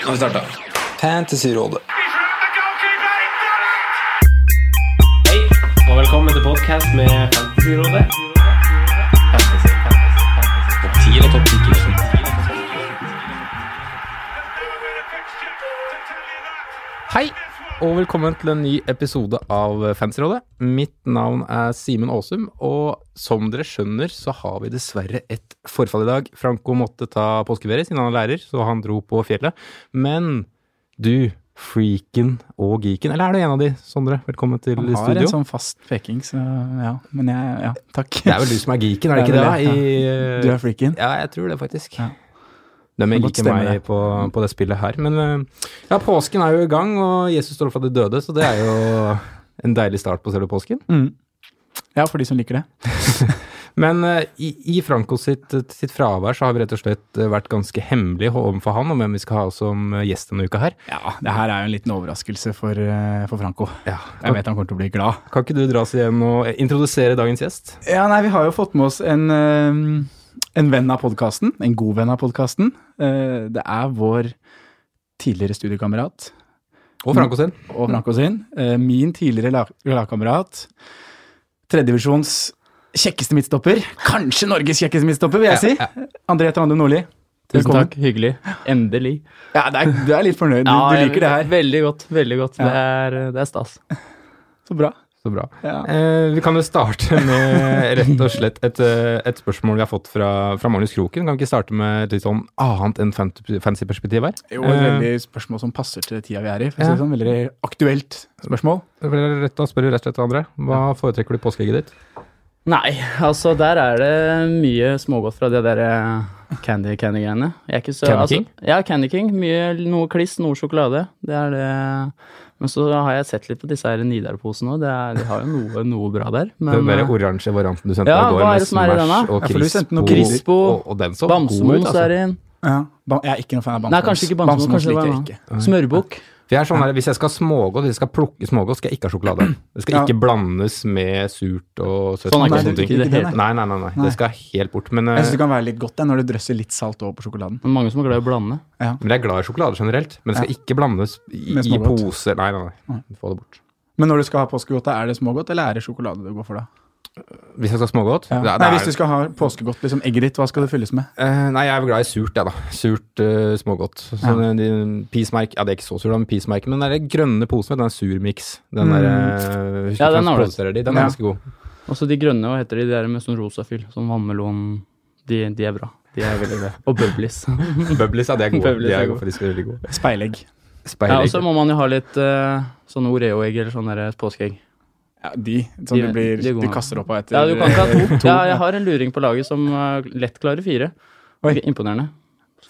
Nå har vi starta. Fantasyrådet. Hei, og velkommen til podcast med Fantasyrådet. Hei, og velkommen til en ny episode av Fancyrådet. Mitt navn er Simen Aasum, og som dere skjønner, så har vi dessverre et forfall i dag. Franco måtte ta påskeferie siden han er lærer, så han dro på fjellet. Men du, freaken og geeken, eller er du en av de, Sondre? Velkommen til Han har studio. en sånn fast peking, så ja. Men jeg, ja, takk. Det er vel du som er geeken, er det Det ikke er det? vel I, Du er freaken. Ja, jeg tror det faktisk. Ja. De er Kan godt like stemme meg det. på, på det spillet her. Men eh, ja, påsken er jo i gang, og Jesus står opp fra de døde, så det er jo en deilig start på selve påsken. Mm. Ja, for de som liker det. Men eh, i, i Franco sitt, sitt fravær så har vi rett og slett eh, vært ganske hemmelige overfor han om hvem vi skal ha som eh, gjest denne uka her. Ja, det her er jo en liten overraskelse for, eh, for Franco. Ja. Jeg vet han kommer til å bli glad. Kan ikke du dra oss igjen og eh, introdusere dagens gjest? Ja, nei, vi har jo fått med oss en, eh, en venn av podkasten. En god venn av podkasten. Det er vår tidligere studiekamerat Og Franco sin. og Franco sin. Eh, Min tidligere lag- lagkamerat. Tredjevisjons kjekkeste midtstopper. Kanskje Norges kjekkeste midtstopper, vil jeg si. André Trandum Nordli. Tusen Velkommen. takk, hyggelig. Endelig. Ja, det er, du er litt fornøyd. Du, du liker det her. Veldig godt. veldig godt. Det, er, det er stas. Så bra. Så bra. Ja. Eh, vi kan jo starte med rett og slett et, eh, et spørsmål vi har fått fra, fra Magnus Kroken. Kan vi ikke starte med et litt sånn annet enn fant- fancy perspektiv her? Jo, et Eh, veldig spørsmål som passer til tida vi er i. For å si Ja. det sånn, Veldig aktuelt spørsmål. det blir rett å spørre rett og slett andre. Hva foretrekker du i påskeegget ditt? Nei, altså der er det mye smågodt fra de der eh, Candy Candy-greiene. Jeg er ikke så- Candy altså- King? Ja, Candy King. Mye, noe kliss, noe sjokolade. Det er det. Men så har jeg sett litt på disse her Nidar-posene òg. De har jo noe, noe bra der. Men den der eh, oransje varianten du sendte ja, i går hva er med det som er i Smash denne? og Ja, for du sendte Crispo, noe Crispo, og, og den så god ut. Bamsemons er Altså. inn. Ja. Ba- Jeg er ikke noen fan av Bamsemons. Nei, kanskje ikke Bamsemons. kanskje det var liker en jeg ikke. annen. Smørbukk. Vi er sånn her, hvis jeg skal ha smågodt, hvis jeg skal plukke smågodt, skal jeg ikke ha sjokolade. Det skal Ja. ikke blandes med surt og søtt. Sånn er og ikke sånne du ting. liker ikke det, nei. Nei, nei, nei, nei. Nei. Det skal helt bort. Men, eh, Jeg syns det kan være litt godt det, når du drøsser litt salt over på sjokoladen. Men mange som er glad i å blande. men jeg er glad i sjokolade generelt. Men det skal ikke blandes i, Med i smågodt. poser. Nei, nei, nei. Få det bort. Men når du skal ha påskegodt, da, er det smågodt, eller er det sjokolade du går for da? Hvis jeg skal ha smågodt? Ja. Det er- Nei, det hvis er- du skal ha påskegodt, liksom egget ditt, hva skal det fylles med? Eh, nei, jeg er vel glad i surt, jeg, da. Surt eh, smågodt. Så den- den Peacemark Ja, det er ikke så surt, da, men peacemark. Men den der grønne posen, vet du, den surmix. Den der eh, husker Ja, ikke hvem den som har du. produserer de, Den Mm. Ja. er ganske god. Og så Altså, de grønne, hva heter de, de der med sånn rosa fyll, sånn vannmelon, de, de er bra. De er veldig bra. Og bubblies. Bubblies, ja, de er gode. Bubblies de er er gode, gode. for de skal veldig gode. Speilegg. Ja, Speilegg. og så må man jo ha litt eh, sånn Oreo-egg eller sånn der påskeegg. Ja, de som De- du, blir, de er gode. du kaster opp av etter Ja, du kan ikke ha to. Ja, ja. jeg har en luring på laget som eh, lett klarer fire. Oi. Imponerende.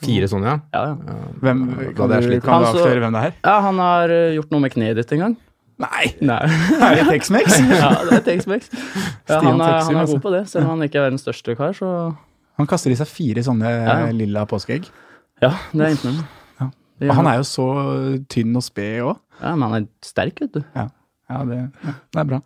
Fire sånne, ja. Ja, ja. Hvem, da kan, hadde jeg du, slitt. kan du Han så- avsløre hvem det er? ja, han har eh, gjort noe med kneet ditt en gang. Nei! Nei. Er det Tex-Mex? Ja, det er Tex-Mex. Ja, han, er, han Texim, er altså. god på det, selv om han ikke er verdens største kar, så Han kaster i seg fire sånne Ja, ja. lilla påskeegg. ja, det er imponerende. Ja. Det gjør Og han er jo så eh, tynn og sped òg. Ja, men han er sterk, vet du. Ja, det, ja, det er bra.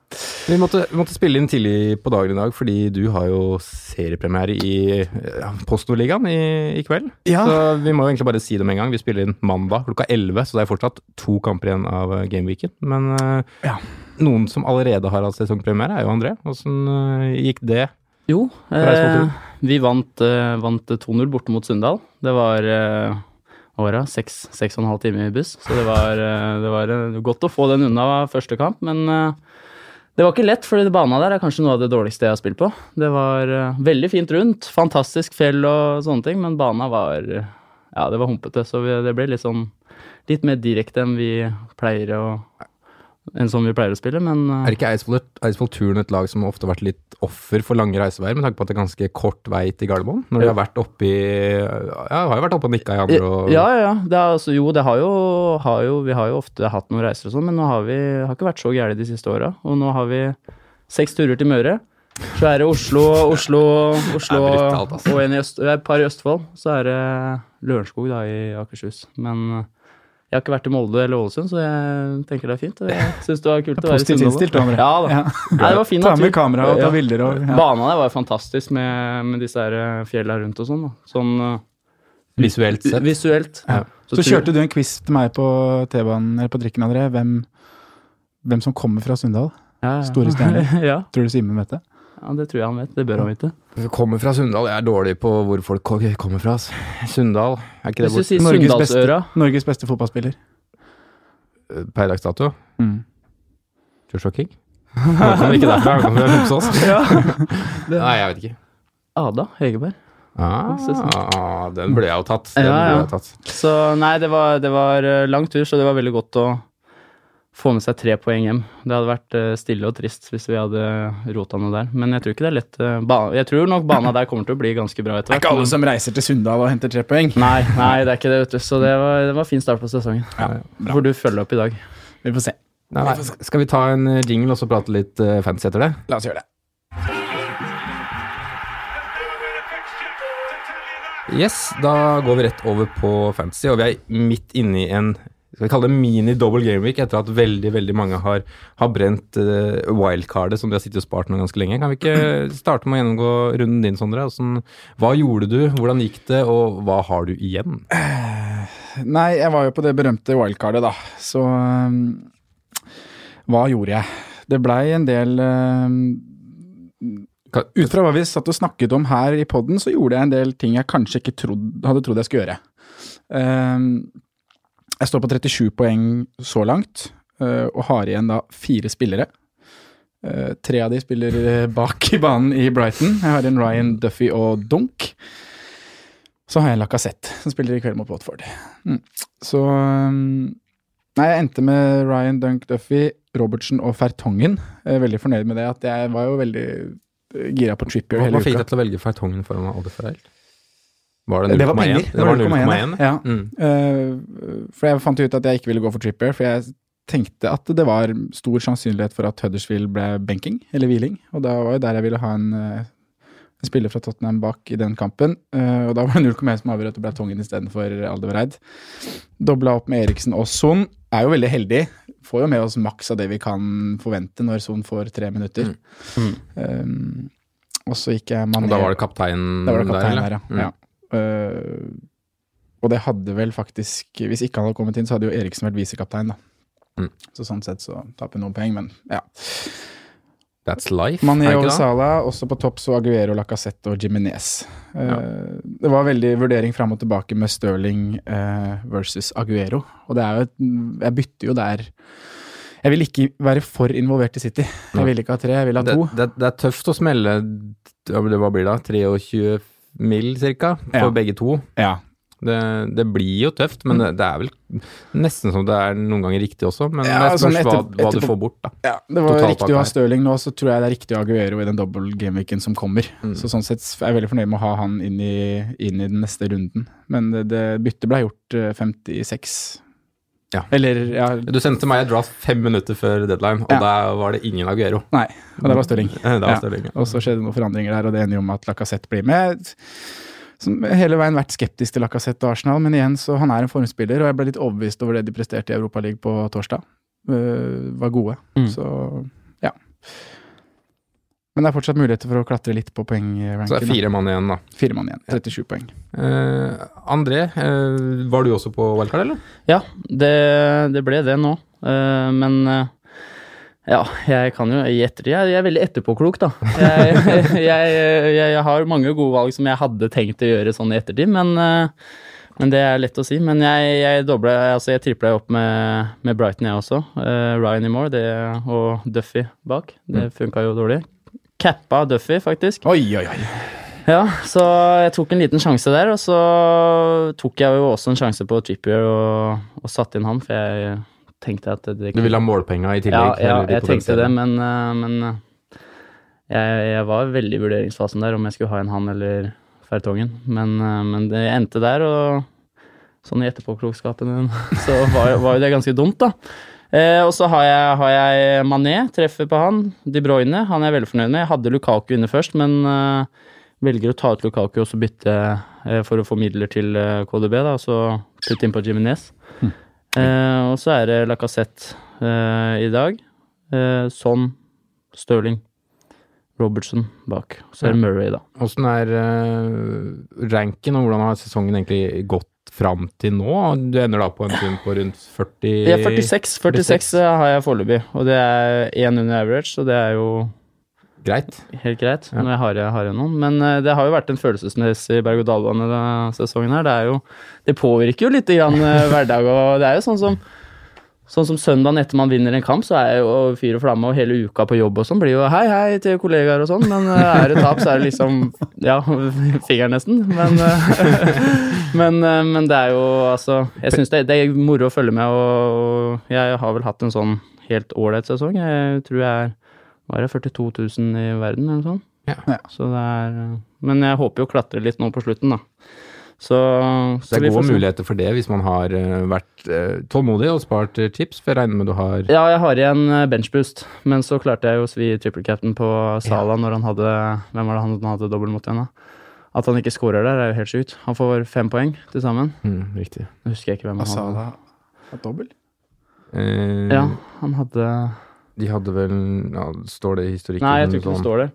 Vi måtte, vi måtte spille inn tidlig på dagen i dag, fordi du har jo seriepremiere i ja, Post Nordligaen i, i kveld. Ja. Så vi må jo egentlig bare si det med en gang. Vi spiller inn mandag klokka 11, så det er fortsatt to kamper igjen av eh, gameweeken. Men eh, Ja. noen som allerede har hatt sesongpremiere, er jo André. Åssen eh, gikk det? Jo, deg som eh, vi vant, eh, vant 2-0 borte mot Sunndal. Det var eh, åra seks, seks og en halv time i buss, så det var, eh, det var eh, godt å få den unna første kamp, men eh, det var ikke lett, for bana der er kanskje noe av det dårligste jeg har spilt på. Det var eh, veldig fint rundt, fantastisk fjell og sånne ting, men bana var eh, Ja, det var humpete, så vi, det ble litt sånn Litt mer direkte enn vi pleier å enn som vi pleier å spille, men eh, Er ikke Eidsvoll, Eidsvoll Turn et lag som ofte har vært litt offer for lange reiseveier, med tanke på at det er ganske kort vei til Gardermoen? Når de har vært oppe i Ja, har jo vært oppe og nikka i andre og Ja, ja, ja. Det er, altså, jo, det har jo, har jo Vi har jo ofte hatt noen reiser og sånn, men nå har vi har ikke vært så gærent de siste åra. Og nå har vi seks turer til Møre. Så er det Oslo, Oslo, Oslo Det er brutalt, altså. og en i Øst, det er et par i Østfold. Så er det Lørenskog da i Akershus. Men eh, jeg har ikke vært i Molde eller Ålesund, så jeg tenker det er fint. og Jeg syns det var kult å være i Positivt Sunndal. innstilt, André. Ja, da. Nei, det var fin Ta med natur. kamera og ta Ja. bilder og ja. Bana der var jo fantastisk med, med disse her eh, fjella rundt og sånn. da. Sånn eh, Visuelt sett. Visuelt. Ja. Så kjørte du en quiz til meg på T-banen, eller på trikken, André. Hvem, hvem som kommer fra Sunndal. Store stjerner. ja, Tror du Simen vet det? ja, det tror jeg han vet. Det bør han vite. Kommer fra Sunndal. Jeg er dårlig på hvor folk ko- kommer fra. ass. Sunndal, er ikke det bort Hvis du sier Norges beste. Sunndalsøra Norges beste fotballspiller. eh, per dags dato? Mm. Joshua King? Han kommer ikke derfra, han kommer fra Romsås. Nei, jeg vet ikke. Ada Hegerberg. Ah, den ble jeg jo tatt. Den Ja, ja. ble jeg jo tatt. Så nei, det var, det var eh, lang tur, så det var veldig godt å få med seg tre poeng hjem. Det hadde vært eh, stille og trist hvis vi hadde rota noe der. Men jeg tror ikke det er lett. eh, Ba jeg tror nok bana der kommer til å bli ganske bra etter Det er ikke alle men- som reiser til Sunndal og henter tre poeng. Nei, nei, det er ikke det, vet du. Så det var, det var fin start på sesongen. bra. Får du følge opp i dag. Vi får se. Nei, nei. Skal vi ta en eh, jingle og så prate litt eh, fancy etter det? La oss gjøre det. Yes, da går vi rett over på fantasy, og vi er midt inne i en skal vi kalle det mini-double game week etter at veldig veldig mange har, har brent eh, wildcardet som de har sittet og spart nå ganske lenge. Kan vi ikke starte med å gjennomgå runden din, Sondre? Hvordan- hva gjorde du, hvordan gikk det, og hva har du igjen? Nei, jeg var jo på det berømte wildcardet, da. Så øhm, hva gjorde jeg? Det blei en del øhm, Ka- Ut fra hva vi satt og snakket om her i poden, så gjorde jeg en del ting jeg kanskje ikke trodd- hadde trodd jeg skulle gjøre. Øhm, Ehm, jeg står på 37 poeng så langt, øh, og har igjen da fire spillere. Øh, tre av de spiller øh, bak i banen i Brighton. Jeg har en Ryan Duffy og Dunk. Så har jeg en Lacassette, som spiller i kveld mot Watford. Mm. Så um, Nei, jeg endte med Ryan Dunk Duffy, Robertsen og Fertongen. Jeg er veldig fornøyd med det. At jeg var jo veldig eh, gira på Trippier Hva, hele hva fikk uka. deg til å velge Fertongen foran Oddeferrell? Var det Det var 0,1? penger. Det var 0,1, ja. Ja. Mm. Eh, for jeg fant ut at jeg ikke ville gå for Trippier, for jeg tenkte at det var stor sannsynlighet for at Huddersfield ble benking, eller hviling, og da var jo der jeg ville ha en, eh, en spiller fra Tottenham bak i den kampen, eh, og da var det 0,1 som avgjorde at det ble Tongen istedenfor Aldevereid. Dobla opp med Eriksen og Son, er jo veldig heldig, får jo med oss maks av det vi kan forvente når Son får tre minutter. Eh, og så gikk jeg Mm. Og Mané da var det kapteinen da var det kaptein der, eller? ja. ja. Eh, og det hadde vel faktisk Hvis ikke han hadde kommet inn, så hadde jo Eriksen vært visekaptein, da. Mm. Så sånn sett så taper vi noen poeng, men ja. That's life, Mané er og det ikke det? Salah, også på topp så Aguero, Lacassette og Jiminez. Det var veldig vurdering fram og tilbake med Stirling eh, versus Aguero. Og det er jo et, Jeg bytter jo der Jeg vil ikke være for involvert i City. Nei. Jeg vil ikke ha tre, jeg vil ha Det, to. det, det er tøft å smelle ja, men det- Hva blir det? 23 mil cirka for Ja. Mm. begge to. Ja. Det, det blir jo tøft, men det, det er vel nesten som det er noen ganger riktig også. Men Ja, det spørs sånn hva, etter- hva du etterpå- får bort, da. Ja, det var Totalpakka riktig å ha her. Stirling nå, så tror jeg det er riktig å ha Aguero i den dobbel gameweeken som kommer. Mm. Så sånn sett er jeg veldig fornøyd med å ha han inn i, inn i den neste runden. Men det, det byttet ble gjort eh, 56. Ja. Eller ja, Du sendte meg et draft fem minutter før deadline, og Ja. der var det ingen Aguero. nei, og det var Stirling. Eh, Det var Ja. Stirling, ja. Og så skjedde noen forandringer der, og det ender jo med at Lacassette blir med. Som hele veien vært skeptisk til Lacassette og Arsenal, men igjen, så han er en formspiller, og jeg ble litt overbevist over det de presterte i Europaligaen på torsdag. Eh, var gode, Mm. så ja. Men det er fortsatt muligheter for å klatre litt på poengranken. Så det er da. fire mann igjen, da. Fire mann igjen, 37 poeng. Eh, André, eh, var du også på wildcard, eller? Ja, det, det ble det nå. Eh, men eh, ja, jeg kan jo i etter, jeg, jeg er veldig etterpåklok, da. Jeg, jeg, jeg, jeg har mange gode valg som jeg hadde tenkt å gjøre sånn i ettertid, men, eh, men det er lett å si. Men jeg, jeg dobla, altså jeg tripla jo opp med, med Brighton, jeg også. Eh, Ryan i mål det, og Duffy bak. Det funka jo dårlig. Cappa Duffy, faktisk. Oi, oi, oi. Ja, så jeg tok en liten sjanse der, og så tok jeg jo også en sjanse på Trippier og, og satte inn han, for jeg tenkte at det Du ville ha målpenga i Ja, tillegg? ja eller de jeg tenkte potensielle? det, men, eh, men eh, jeg, jeg var veldig i vurderingsfasen der, om jeg skulle ha en han eller Fertongen. Men, eh, men det endte der, og sånn i etterpåklokskapen min, så var, var jo det ganske dumt, da. Eh, og så har jeg, har jeg Mané, treffer på han. De Bruyne, han er jeg veldig fornøyd med. Jeg hadde Lukaku inne først, men eh, velger å ta ut Lukaku og så bytte eh, for å få midler til eh, KDB, da, og så putte inn på Jiminez. Hm. Eh, og så er det Lacassette eh, i dag. Eh, Son, Stirling, Robertson bak. Så er det Murray, da. Åssen er eh, ranken, og hvordan har sesongen egentlig gått fram til nå? Du ender da på en sum på rundt 40 Ja, 46, 46 eh, har jeg foreløpig, og det er én under average, så det er jo Greit. helt greit Ja. når jeg har, har igjen noen. Men eh, det har jo vært en følelsesmessig berg-og-dal-bane denne sesongen her. Det, er jo, det påvirker jo litt grann eh, hverdag, og det er jo sånn som Sånn som søndagen etter man vinner en kamp, så er jeg jo fyr og flamme, og hele uka på jobb og sånn blir jo hei, hei til kollegaer og sånn, men eh, er det tap, så er det liksom ja, fingeren nesten. Men, eh, men, eh, men det er jo altså Jeg syns det, det er moro å følge med, og, og jeg har vel hatt en sånn helt ålreit sesong. Jeg tror jeg er hva er det, 42 000 i verden eller noe sånt. Ja. Ja. Så det er eh, Men jeg håper jo å klatre litt nå på slutten, da. Så, Så vi det er får gode se. muligheter for det hvis man har eh, vært eh, tålmodig og spart eh, tips, for jeg regner med du har Ja, jeg har igjen eh, benchboost, men så klarte jeg jo å svi triple cap'n på Sala når han hadde Hvem var det han hadde dobbel mot igjen, da? At han ikke scorer der, er jo helt sjukt. Han får fem poeng til sammen. Mm, Riktig. Nå husker jeg ikke hvem han hadde. Asala er dobbel. Eh, Ja, han hadde De hadde vel ja, Står det i historikken? sånn- Nei, jeg tror sånn- ikke det står der.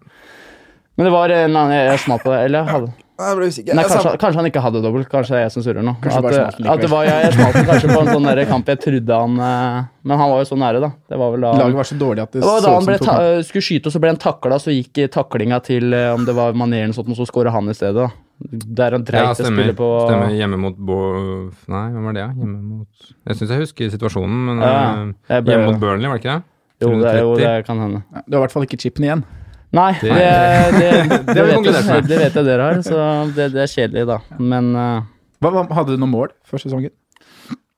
Men det var en eller annen jeg, jeg smalt på det. Eller jeg hadde Jeg ble usikker. Nei, kanskje, kanskje han ikke hadde dobbelt. Kanskje det er jeg som surrer nå. Kanskje At, eh, bare smalt den at det var, ja, jeg smalt den kanskje på en sånn der kamp jeg trodde han eh, Men han var jo så nære, da. Det var vel da Laget var så dårlig at det, det var da så han ut som ble to ta kamper. skulle skyte, og så ble han takla, så gikk eh, taklinga til eh, om det var Mané eller noe sånt, og så skåra han i stedet. da. Der han dreit Ja, det stemmer. spillet på stemmer. Hjemme mot Bo... Nei, hvem var det? ja? Hjemme mot Jeg syns jeg husker situasjonen, men Ja, eh, jeg ble- Hjemme mot Burnley, var det ikke det? Jo, det, er- jo, 130. det kan hende. Ja, Det var i hvert fall ikke chipen igjen. Nei, det, det, det, Det har vi vet, konkludert jeg, med. det vet jeg dere har, så det, det er kjedelig, da. Men eh, Hva, hva, hadde du noen mål før sesongen?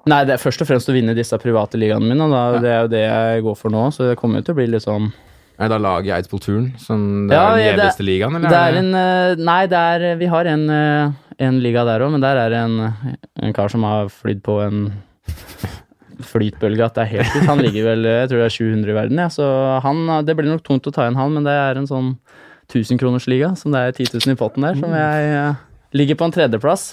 Nei, det er først og fremst å vinne disse private ligaene mine. Da. Det er jo det jeg går for nå, så det kommer jo til å bli litt sånn Er det da laget i Eidsvoll Turn som det Ja, er ja, den det- gjeveste ligaen, eller? Det er en eh, Nei, det er Vi har en, eh, en liga der òg, men der er det en, eh, en kar som har flydd på en flytbølge at det er helt ut. Han ligger vel eh, Jeg tror det er 700 i verden, ja. så han eh, Det blir nok tungt å ta igjen han, men det er en sånn 1000-kronersliga som det er 10 000 i potten der, som jeg eh, ligger på en tredjeplass.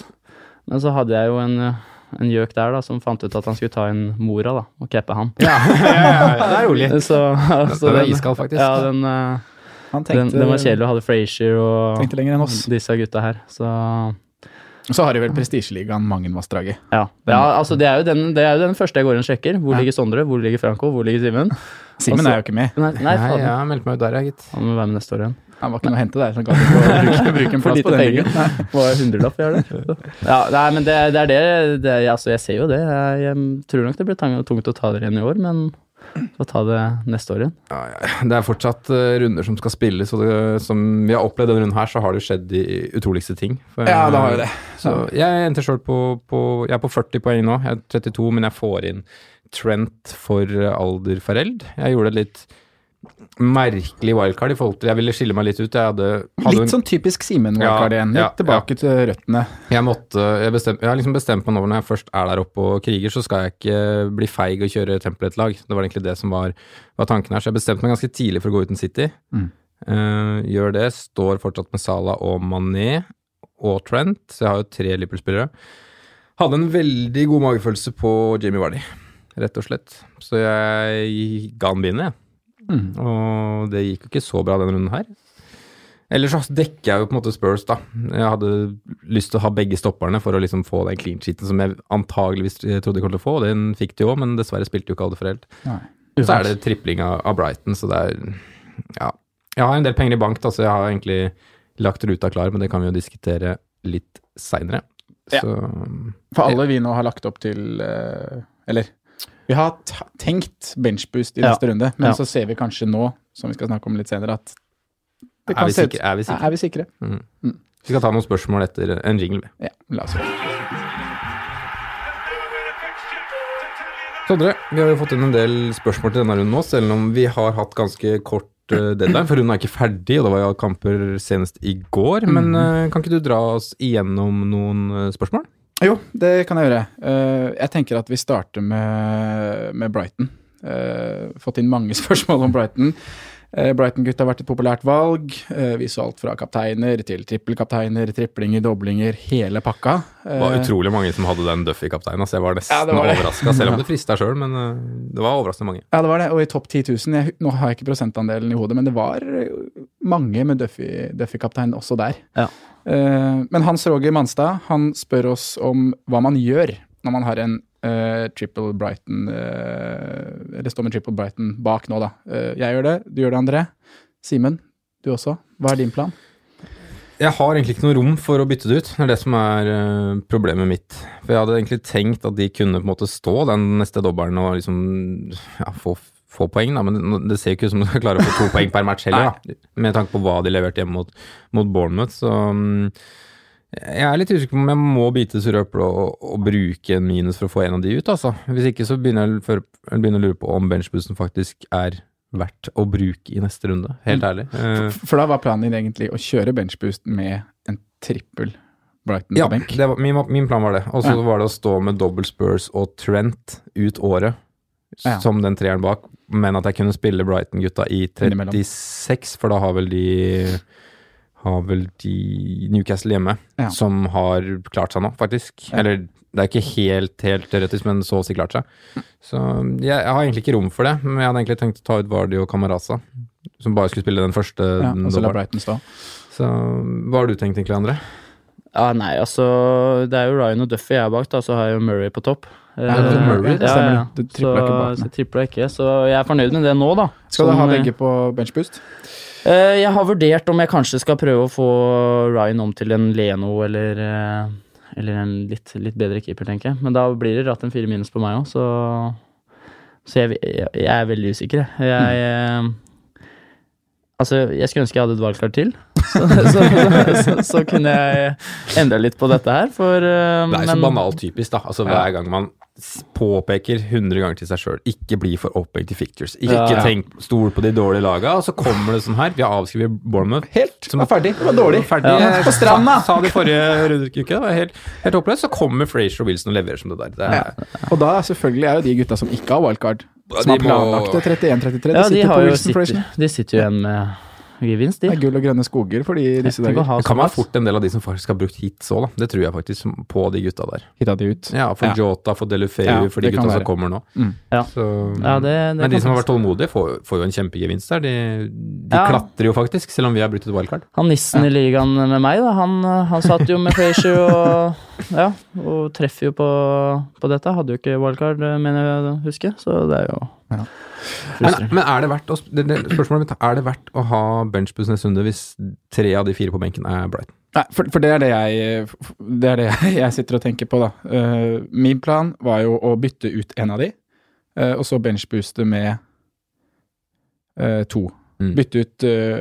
Men så hadde jeg jo en eh, en gjøk der da, som fant ut at han skulle ta inn mora da, og cappe han. ja, ja, ja, ja, det er rolig. Så, så Den er den- iskald, faktisk. Ja, den, eh, Han den, den var kjedelig. Mm. og Hadde Frazier og tenkte lenger enn oss. disse gutta her. Så Så har de vel prestisjeligaen Mangenvassdraget. ja. ja altså, det, er jo den, det er jo den første jeg går inn og sjekker. Hvor ligger Sondre? Hvor ligger Franco? Hvor ligger Simen? Simen Altså- er jo ikke med. Nei, nei Nei, faen. jeg har meldt meg ut der, jeg, gitt. Han må være med neste år igjen. Han var ikke noe å hente der. Så han gadd ikke å bruke, bruke en For plass lite på den penger. ligaen. Nei. Det var jo hundrelapp jeg har der. Ja, nei, men det, det er det, det er- altså, Jeg ser jo det. Jeg, jeg tror nok det blir tang- tungt å ta dere igjen i år, men få ta det neste år igjen. Ja, ja. Det er fortsatt eh, runder som skal spilles, og det, som vi har opplevd denne runden her, så har det jo skjedd de utroligste ting. For, eh, Ja, det har jo det. Så jeg endte sjøl på, på Jeg er på 40 poeng nå. Jeg er 32, men jeg får inn Trent for eh, Alder Fareld. Jeg gjorde et litt merkelig wildcard i forhold til Jeg ville skille meg litt ut. Jeg hadde, hadde Litt sånn typisk Simen Ja, Wildcard igjen. Litt ja, tilbake til røttene. Jeg, måtte, jeg, bestem, jeg har liksom bestemt meg nå når jeg først er der oppe og kriger, så skal jeg ikke eh, bli feig og kjøre Templet-lag. Det var egentlig det som var, var tanken her. Så jeg bestemte meg ganske tidlig for å gå uten City. Mm. Eh, gjør det. Står fortsatt med Salah og Mané og Trent, så jeg har jo tre Liverpool-spillere. Hadde en veldig god magefølelse på Jamie Vardy, rett og slett. Så jeg ga han bindet, jeg. Mm. Og det gikk jo ikke så bra denne runden her. Ellers så dekker jeg jo på en måte Spurs, da. Jeg hadde lyst til å ha begge stopperne for å liksom få den clean sheeten som jeg antageligvis trodde de kom til å få, og den fikk de jo, men dessverre spilte jo ikke alle for helt. Nei. Så er det tripling av, av Brighton, så det er Ja. Jeg har en del penger i bank, da, så jeg har egentlig lagt ruta klar, men det kan vi jo diskutere litt seinere. Ja. Så For alle vi nå har lagt opp til eh, Eller vi har t tenkt benchboost i Ja. neste runde, men Ja. så ser vi kanskje nå, som vi skal snakke om litt senere, at det er kan vi se ut sikre? Er vi sikre? Er vi sikre? Vi skal ta noen spørsmål etter en jingle. vi. Ja, la oss gjøre det. Sondre, vi har jo fått inn en del spørsmål til denne runden nå, selv om vi har hatt ganske kort eh, deadline, for runden er ikke ferdig, og det var jo kamper senest i går. Mm. Men eh, kan ikke du dra oss igjennom noen eh, spørsmål? Jo, det kan jeg gjøre. Eh, jeg tenker at vi starter med, med Brighton. Eh, fått inn mange spørsmål om Brighton. Eh, Brighton-gutt har vært et populært valg. Eh, vi så alt fra kapteiner til trippelkapteiner, triplinger, doblinger, hele pakka. Det var Eh, utrolig mange som hadde den Duffy-kapteinen, altså jeg var nesten Ja, det var det. overraska, selv om det frista sjøl, men eh, det var overraskende mange. Ja, det var det. Og i topp 10 000 jeg, Nå har jeg ikke prosentandelen i hodet, men det var eh, mange med Duffy- Duffy-kaptein også der. Ja. Eh, men Hans Roger Manstad han spør oss om hva man gjør når man har en eh, triple Brighton eh, Eller står med triple Brighton bak nå, da. Eh, jeg gjør det, du gjør det, André. Simen, du også. Hva er din plan? Jeg har egentlig ikke noe rom for å bytte det ut. Det er det som er eh, problemet mitt. For jeg hadde egentlig tenkt at de kunne på en måte stå den neste dobbelen og liksom ja, få, få poeng, da. Men det- det ser jo ikke ut som de skal klare å få to poeng per match heller, da. Med tanke på hva de leverte hjemme mot, mot Bournemouth. Så mm, jeg er litt usikker på om jeg må bite sure øpler og, og bruke en minus for å få en av de ut, altså. Hvis ikke så begynner jeg, å føre- jeg begynner å lure på om benchboosten faktisk er verdt å bruke i neste runde. Helt ærlig. Eh, For da var planen din egentlig å kjøre benchboost med en trippel Brighton Ja, på benk. det var, min, var- min plan var det. Og så Ja. var det å stå med double Spurs og Trent ut året, s- Ja. som den treeren bak, men at jeg kunne spille Brighton-gutta i Innimellom. 36, for da har vel de har vel de Newcastle hjemme, Ja. som har klart seg nå, faktisk. Ja. Eller det er ikke helt, helt teoretisk, men så å si klart seg. Så jeg, jeg har egentlig ikke rom for det, men jeg hadde egentlig tenkt å ta ut Vardy og Kamaraza, som bare skulle spille den første Ja, og så la dobbelen. Brighton stå. Så hva har du tenkt egentlig, André? Ja, nei, altså Det er jo Ryan og Duffy jeg er bak, da, så har jeg jo Murray på topp. Ja, det er Eh, Murray, det stemmer. Du Så, tripler ikke bak, nei. så tripler jeg ikke, så jeg er fornøyd med det nå, da. Skal Som, du ha eh, begge på benchboost? Eh, Jeg har vurdert om jeg kanskje skal prøve å få Ryan om til en Leno eller, eh, eller en litt, litt bedre keeper, tenker jeg. Men da blir det ratt en fire minus på meg òg, så, så jeg, jeg, jeg er veldig usikker. jeg. Jeg, eh, altså, jeg skulle ønske jeg hadde et valgkart til, så, så, så, så, så kunne jeg endra litt på dette her, for eh, Det er jo så men- banalt typisk, da. Altså Hver gang man s- påpeker 100 ganger til seg sjøl ikke bli for opphengt i fictures. Ikke Ja. tenk stol på de dårlige laga, og så kommer det sånn her. Vi har avskrevet Bournemouth. Helt! Som- var ferdig. Det var dårlig. Ferdig. Ja. På stranda. Sa, sa det forrige runde, ikke? Det var helt, helt håpløst. Så kommer Frazier og Wilson og leverer som det der. Det er, Ja. Og da selvfølgelig er jo de gutta som ikke har wildcard, som de har planlagt må- det 31-33. Ja, de, sitter på har jo Wilson sitter, Frazier. de sitter jo igjen med gevinst, Det de. er gull og grønne skoger for de disse Tenk å dager. ha det kan være såpass. fort en del av de som faktisk har brukt hit så, da. Det tror jeg faktisk som- på de gutta der. Hitta de ut. Ja, For Ja. Jota, for Delufeu, Ja, for de det kan gutta som være. kommer nå. Mm. Ja. Så- Ja, det, det men de kan som har faktisk- vært tålmodige, får, får jo en kjempegevinst der. De, de Ja. klatrer jo faktisk, selv om vi har brutt et wildcard. Han nissen i ligaen med meg, da, han, eh, han satt jo med Frazier og ja, og treffer jo på, på dette. Hadde jo ikke wildcard, eh, mener jeg å huske, så det er jo Ja. Men, frustrerende. men er det verdt å, det, det, spørsmålet mitt er, er det verdt å ha benchboost neste runde hvis tre av de fire på benken er Brighton? Nei, for, for det er det jeg, det er det jeg sitter og tenker på, da. Eh, min plan var jo å bytte ut en av de, eh, og så benchbooste med eh, to. Mm. Bytte ut eh,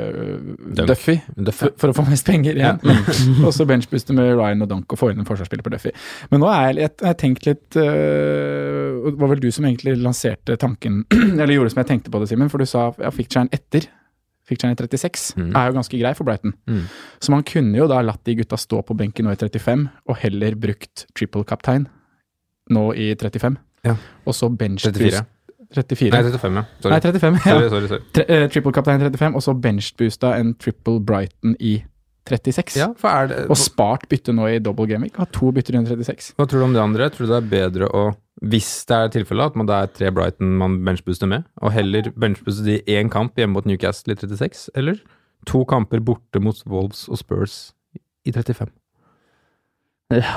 Dunk. Duffy Det er for, for å få mest penger igjen. og så benchbooste med Ryan og Dunk og få inn en forsvarsspiller på Duffy. Men nå er jeg, jeg, jeg har tenkt litt øh, og Det var vel du som egentlig lanserte tanken, eller gjorde som jeg tenkte på det, Simen, for du sa ja, Fiktjern etter. Fiktjern i 36 Mm. er jo ganske grei for Brighton. Mm. Så man kunne jo da latt de gutta stå på benken nå i 35, og heller brukt triple kaptein nå i 35. Ja. Og så benchboost 34. 34. Nei, 35, ja. Sorry. Nei, 35. Ja. sorry, sorry, sorry. Tre, eh, triple kaptein 35, og så benchboosta en triple Brighton i 36. Ja, for er det, Og spart bytte nå i double gaming. Ha to bytter i 136. hva tror du om det andre? Tror du det er bedre å hvis det er tilfellet at man, det er tre Brighton man benchbooster med, og heller benchbooste de i én kamp hjemme mot Newcastle i 36, eller to kamper borte mot Wolves og Spurs i 35?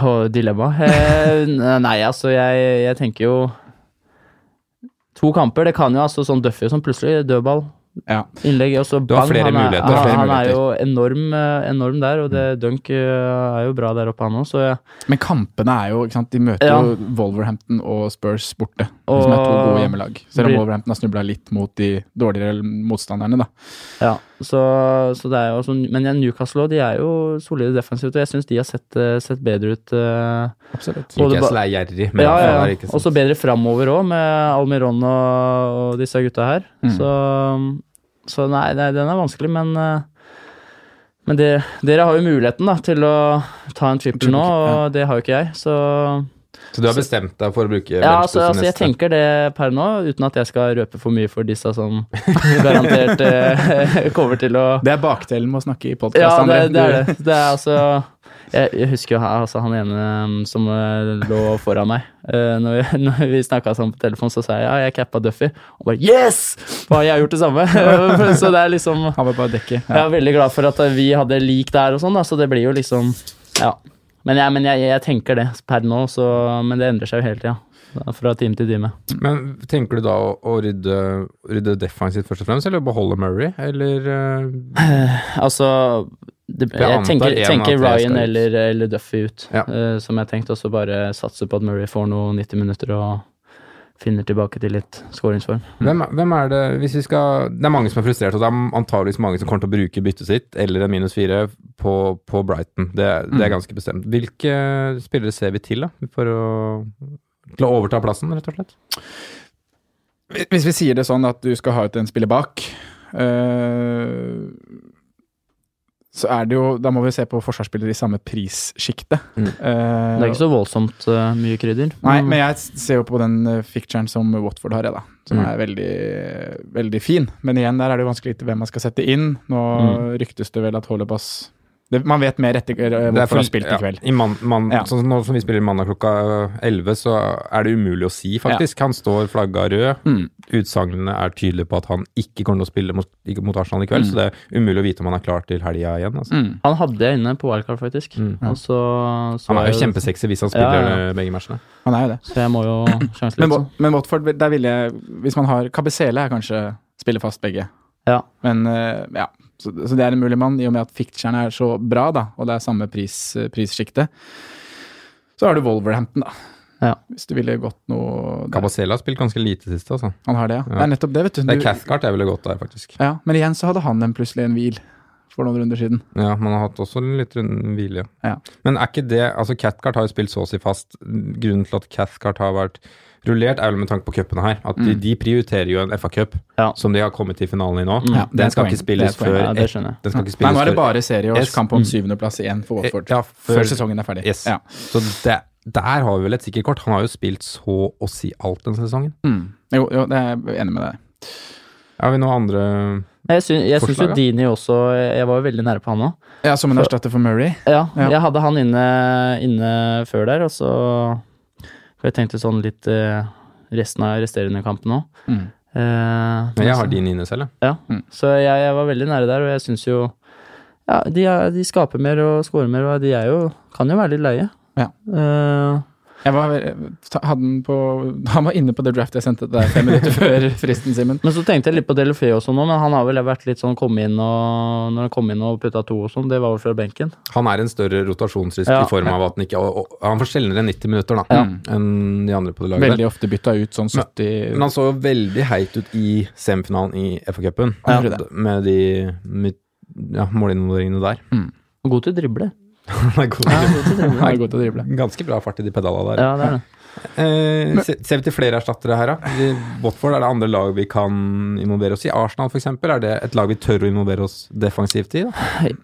Og dilemma. Eh, Nei, altså, jeg, jeg tenker jo To kamper, det kan jo altså sånn Duffy som plutselig dødball, Ja. innlegg, og så bang. Du har flere han er, muligheter. Han, Flere Mm. han er jo enorm, eh, enorm der, og det Dunk eh, er jo bra der oppe, han òg, så jeg Men kampene er jo ikke sant, De møter Ja. jo Wolverhampton og Spurs borte, Og- som er to gode hjemmelag. Selv om Blir- Wolverhampton har snubla litt mot de dårligere motstanderne, da. Ja, så, så det er jo sånn Men ja, Newcastle også, de er jo solide defensivt, og jeg syns de har sett, eh, sett bedre ut. eh, Absolutt. Og det Newcastle er gjerrig, men ja, i hvert fall ja, Altså- er det ja. ikke sånn. Og så sant. bedre framover òg, med Almiron og, og disse gutta her. Mm. Så, så nei, nei, den er vanskelig, men eh, men det, dere har jo muligheten da, til å ta en trippel Triple, nå, og ja. det har jo ikke jeg. Så Så du har bestemt deg for å bruke ja, altså, benchboost altså, jeg neste? tenker det per nå, uten at jeg skal røpe for mye for disse som garantert eh, kommer til å Det er bakdelen med å snakke i podkast, Ja, André. det, det er det. Det er altså Jeg, jeg husker jo ha- altså, han ene um, som eh, lå foran meg. Eh, når vi, når vi snakka sammen på telefon, så sa jeg ja, jeg cappa Duffy. Og bare yes! For jeg har gjort det samme. så det er liksom Han var bare dekket. Jeg er veldig glad for at eh, vi hadde lik der og sånn, da, så det blir jo liksom Ja. Men jeg, men jeg, jeg tenker det per nå, så, men det endrer seg jo hele tida. da, Fra time til time. Men tenker du da å, å rydde, rydde defensivt først og fremst, eller beholde Murray, eller eh, Altså det, Jeg Jeg antar tenker, en av tenker tre Ryan skal ut. eller, eller Duffy ut, Ja. eh, som jeg tenkte, og så bare satse på at Murray får noen 90 minutter og finner tilbake til litt skåringsform. hvem, er- hvem er det hvis vi skal Det er mange som er frustrert, og det er antageligvis mange som kommer til å bruke byttet sitt eller en minus fire på, på Brighton. Det, er- det er Mm. ganske bestemt. Hvilke spillere ser vi til da, for å, til å overta plassen, rett og slett? Hvis vi sier det sånn at du skal ha ut en spiller bak, øh, så er det jo Da må vi se på forsvarsspillere i samme prissjikte. Eh, Mm. Det er ikke så voldsomt eh, mye krydder. Nei, men jeg ser jo på den eh, ficturen som Watford har, jeg, da. Som Mm. er veldig, veldig fin. Men igjen, der er det jo vanskelig å vite hvem man skal sette inn. Nå ryktes det vel at Holebas det, Man vet mer etter eh, Mm. Det er Watford har for- spilt i kveld. Ja, i mann- mann- Ja. sånn som nå som vi spiller mandag klokka 11, så er det umulig å si, faktisk. Han står flagga rød. Mm. Utsagnene er tydelige på at han ikke kommer til å spille mot, ikke- mot Arsenal i kveld, så det er umulig å vite om han er klar til helga igjen. Altså. Mm. Han hadde jeg inne på wildcard, faktisk. Mm. Og så, så Han er jo jeg- kjempesexy hvis han spiller Ja, eh, begge matchene. Han er jo det. Så jeg må jo sjanse Men, litt. Wa- men Watford, der ville jeg Hvis man har Kabesele, er kanskje spiller fast begge. Ja. Men eh, ja, så, så det er en mulig mann, i og med at ficturen er så bra, da, og det er samme pris, prissjikte. Så har du Wolverhampton, da. Ja. Hvis du ville gått noe der. Kabasela har spilt ganske lite sist, altså. Han har det, ja. Ja. Det er nettopp det, vet du. Det er du Cathcart jeg ville gått der, faktisk. ja, men igjen så hadde han en plutselig en hvil for noen runder siden. Ja, Man har hatt også litt rund hvile. Ja. Men er ikke det altså Cathcart har jo spilt så å si fast. Grunnen til at Cathcart har vært rullert, er vel med tanke på cupene her. At Mm. de, de prioriterer jo en FA-cup, Ja. som de har kommet til finalen i nå. Mm. Ja, det er Den et skal poeng. ikke spilles Det Mm. er et før poeng. Ja, det skjønner jeg. Den skal ikke Nei, spilles nå er det før bare Yes. Mm. serieårskamp om syvendeplass igjen for Eh, Watford. ja, før, før- sesongen er ferdig. Yes. Ja. Så det, der har vi vel et sikkert kort. Han har jo spilt så å si alt denne sesongen. Mm. Jo, jo, det er jeg enig med deg. Er vi noen andre Jeg syns, jeg syns jo Forslag, ja. Dini også Jeg var jo veldig nære på han òg. Ja, Som en erstatter for Murray. Ja, Ja. jeg hadde han inne, inne før der, og så For jeg tenkte sånn litt eh, resten av resterende kampen òg. Mm. Men Jeg har din inne selv, jeg. Ja, Eh, så jeg, jeg var veldig nære der, og jeg syns jo Ja, de, er, de skaper mer og scorer mer, og de er jo Kan jo være litt leie. Ja. Eh, Jeg var, ta- hadde den på, han var inne på det draftet jeg sendte deg fem minutter før fristen, Simen. men så tenkte jeg litt på Delofeo også nå, men han har vel vært litt sånn komme inn og Når han kom inn og putta to og sånn, det var vel fra benken. Han er en større rotasjonsrisk Ja. i form av at han ikke og, og, Han får sjeldnere 90 minutter da, enn de andre på det laget. der. Veldig ofte bytta ut sånn 70 Men han så jo veldig heit ut i semifinalen i FA-cupen, Ja. Jeg tror det. med de med, ja, målinvolveringene der. God til å drible. Han er god. Han er god til å drible. Ganske bra fart i de pedalene der. Ja, det er det. Eh, se- ser vi til flere erstattere her, da? Vi- Watford er det andre lag vi kan involvere oss i. Arsenal, f.eks., er det et lag vi tør å involvere oss defensivt i? Da? Jeg,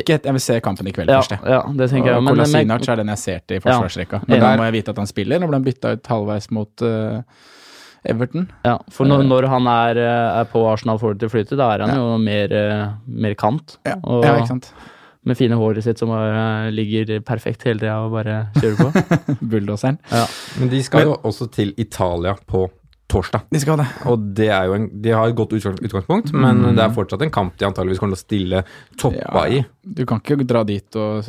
Ikke et, jeg vil se kampen i kveld ja, først, jeg. ja, det tenker jeg Og òg. Men, men Kolasinac er den jeg ser til i forsvarsrekka. Men Ja. da må jeg vite at han spiller. Nå ble han bytta ut halvveis mot eh, Everton. Ja, for når, når han er, eh, er på Arsenal får det til å flyte, da er han Ja. jo mer, eh, mer kant. Og Ja, ikke sant? med fine håret sitt som bare eh, ligger perfekt hele tida og bare kjører på. Bulldoseren. Men de skal jo også til Italia på torsdag. De skal ha det. Og det er jo en, de har et godt utgang- utgangspunkt, men det er fortsatt en kamp de antageligvis kommer til å stille toppa i. Du kan ikke dra dit og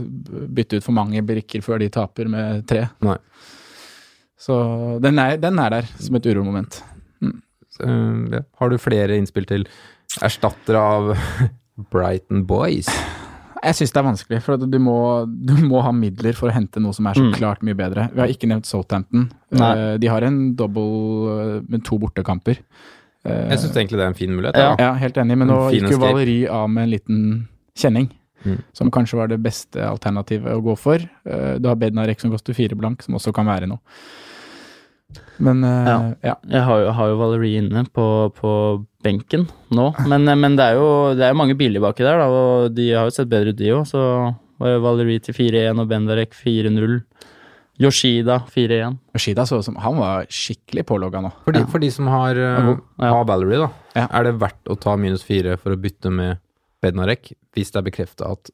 bytte ut for mange brikker før de taper med tre. Nei. Så den er, den er der som et uromoment. Så, eh, ja. Har du flere innspill til erstattere av Brighton Boys? Jeg syns det er vanskelig, for at du må, du må ha midler for å hente noe som er Mm. så klart mye bedre. Vi har ikke nevnt Southampton. Nei. Eh, De har en double eh, med to bortekamper. Eh, Jeg syns egentlig det er en fin mulighet. Ja. Ja. Ja, helt enig, men nå En fin gikk jo escape. Valeri av med en liten kjenning. Mm. Som kanskje var det beste alternativet å gå for. Eh, Du har Bednarek som koster fire blank, som også kan være noe. Men eh, ja. Jeg har jo, har jo Valerie inne på, på benken nå, men, eh, men det er jo det er jo mange billige baki der, da, og de har jo sett bedre ut, de òg. Så var jo Valerie til 4-1 og Bendarek 4-0. Yoshida 4-1. Yoshida så ut som Han var skikkelig pålogga nå. For, de, for de som har, eh, god. Ja. har Valerie, da, Ja. er det verdt å ta minus fire for å bytte med Bednarek hvis det er bekrefta at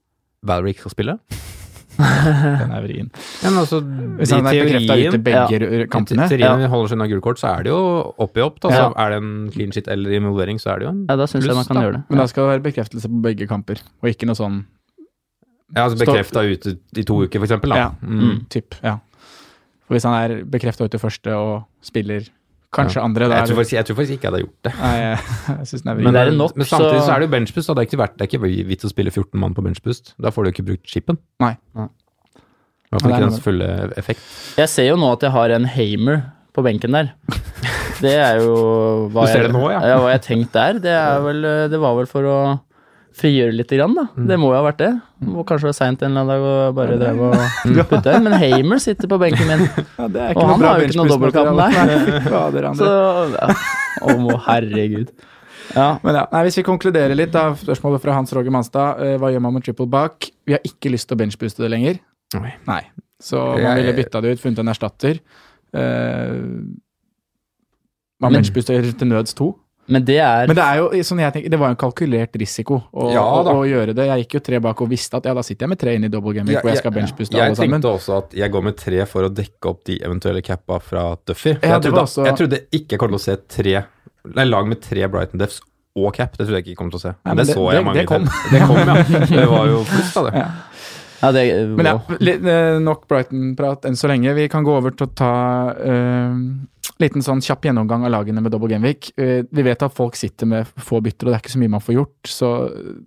Valerie ikke skal spille? Den er vrien. Ja, men altså, Hvis han i er bekrefta ute teorien begge ru- kampene I teorien når vi holder seg unna gult kort, så er det jo opp i opp. Da. Så Ja. er det en clean shit eller involvering, så er det jo en Ja, da syns jeg Pluss, man kan da. gjøre det. Men da skal det være bekreftelse på begge kamper, og ikke noe sånn ja, altså bekrefta ute i to uker, for eksempel. Da. Ja. Mm. typ, ja. For hvis han er bekrefta ute første og spiller kanskje andre, da Jeg, er tror det faktisk, jeg tror faktisk ikke jeg hadde gjort det. Nei, jeg, jeg syns den er vrien. Men det er det nok, men samtidig så så er det jo benchbust. da. Det er ikke, verdt, det er ikke vits å spille 14 mann på benchbust. Da får du jo ikke brukt chipen. Nei. I hvert fall ikke Nei, nei, dens fulle effekt. Jeg ser jo nå at jeg har en Hamer på benken der. Det er jo hva Du ser jeg, det nå, ja. Hva jeg tenkte der. Det, er vel, eh, det var vel for å frigjøre litt, grann, da. Mm. Det må jo ha vært det. Må kanskje være seint en eller annen dag og bare drev og putte inn. Men Hamer sitter på benken min. Ja, det er Og han bra har jo ikke noe benchboost-materiale. dobbeltkamp, Nei, fader, André. Så ja. Å, må- herregud. Ja. Men ja, nei, Hvis vi konkluderer litt, da, spørsmålet fra Hans Roger Manstad. eh, hva gjør man med triple back? Vi har ikke lyst til å benchbooste det lenger. Nei. Så man Jeg- ville bytta det ut, funnet en erstatter. Eh, man Men- benchbooster til nøds to. Men det er Men det er jo sånn jeg tenker, det var jo en kalkulert risiko å, Ja, å, da. å gjøre det. Jeg gikk jo tre bak og visste at ja, da sitter jeg med tre inne i double game week Ja, hvor jeg ja, skal benchbooste Jeg alle sammen. tenkte også at jeg går med tre for å dekke opp de eventuelle cappa fra Duffy. For Ja, jeg, det trodde, var også- jeg trodde ikke jeg kom til å se tre Nei, lag med tre Brighton Defs og cap. Det trodde jeg ikke jeg kom til å se. Nei, men det, det- så det- jeg mange det kom. til. Det kom, ja. Det var jo pluss, da, det. ja, det, Men ja, litt, eh, nok Brighton-prat enn så lenge. Vi kan gå over til å ta en liten sånn kjapp gjennomgang av lagene med double gameweek. Eh, vi vet at folk sitter med få bytter, og det er ikke så mye man får gjort. Så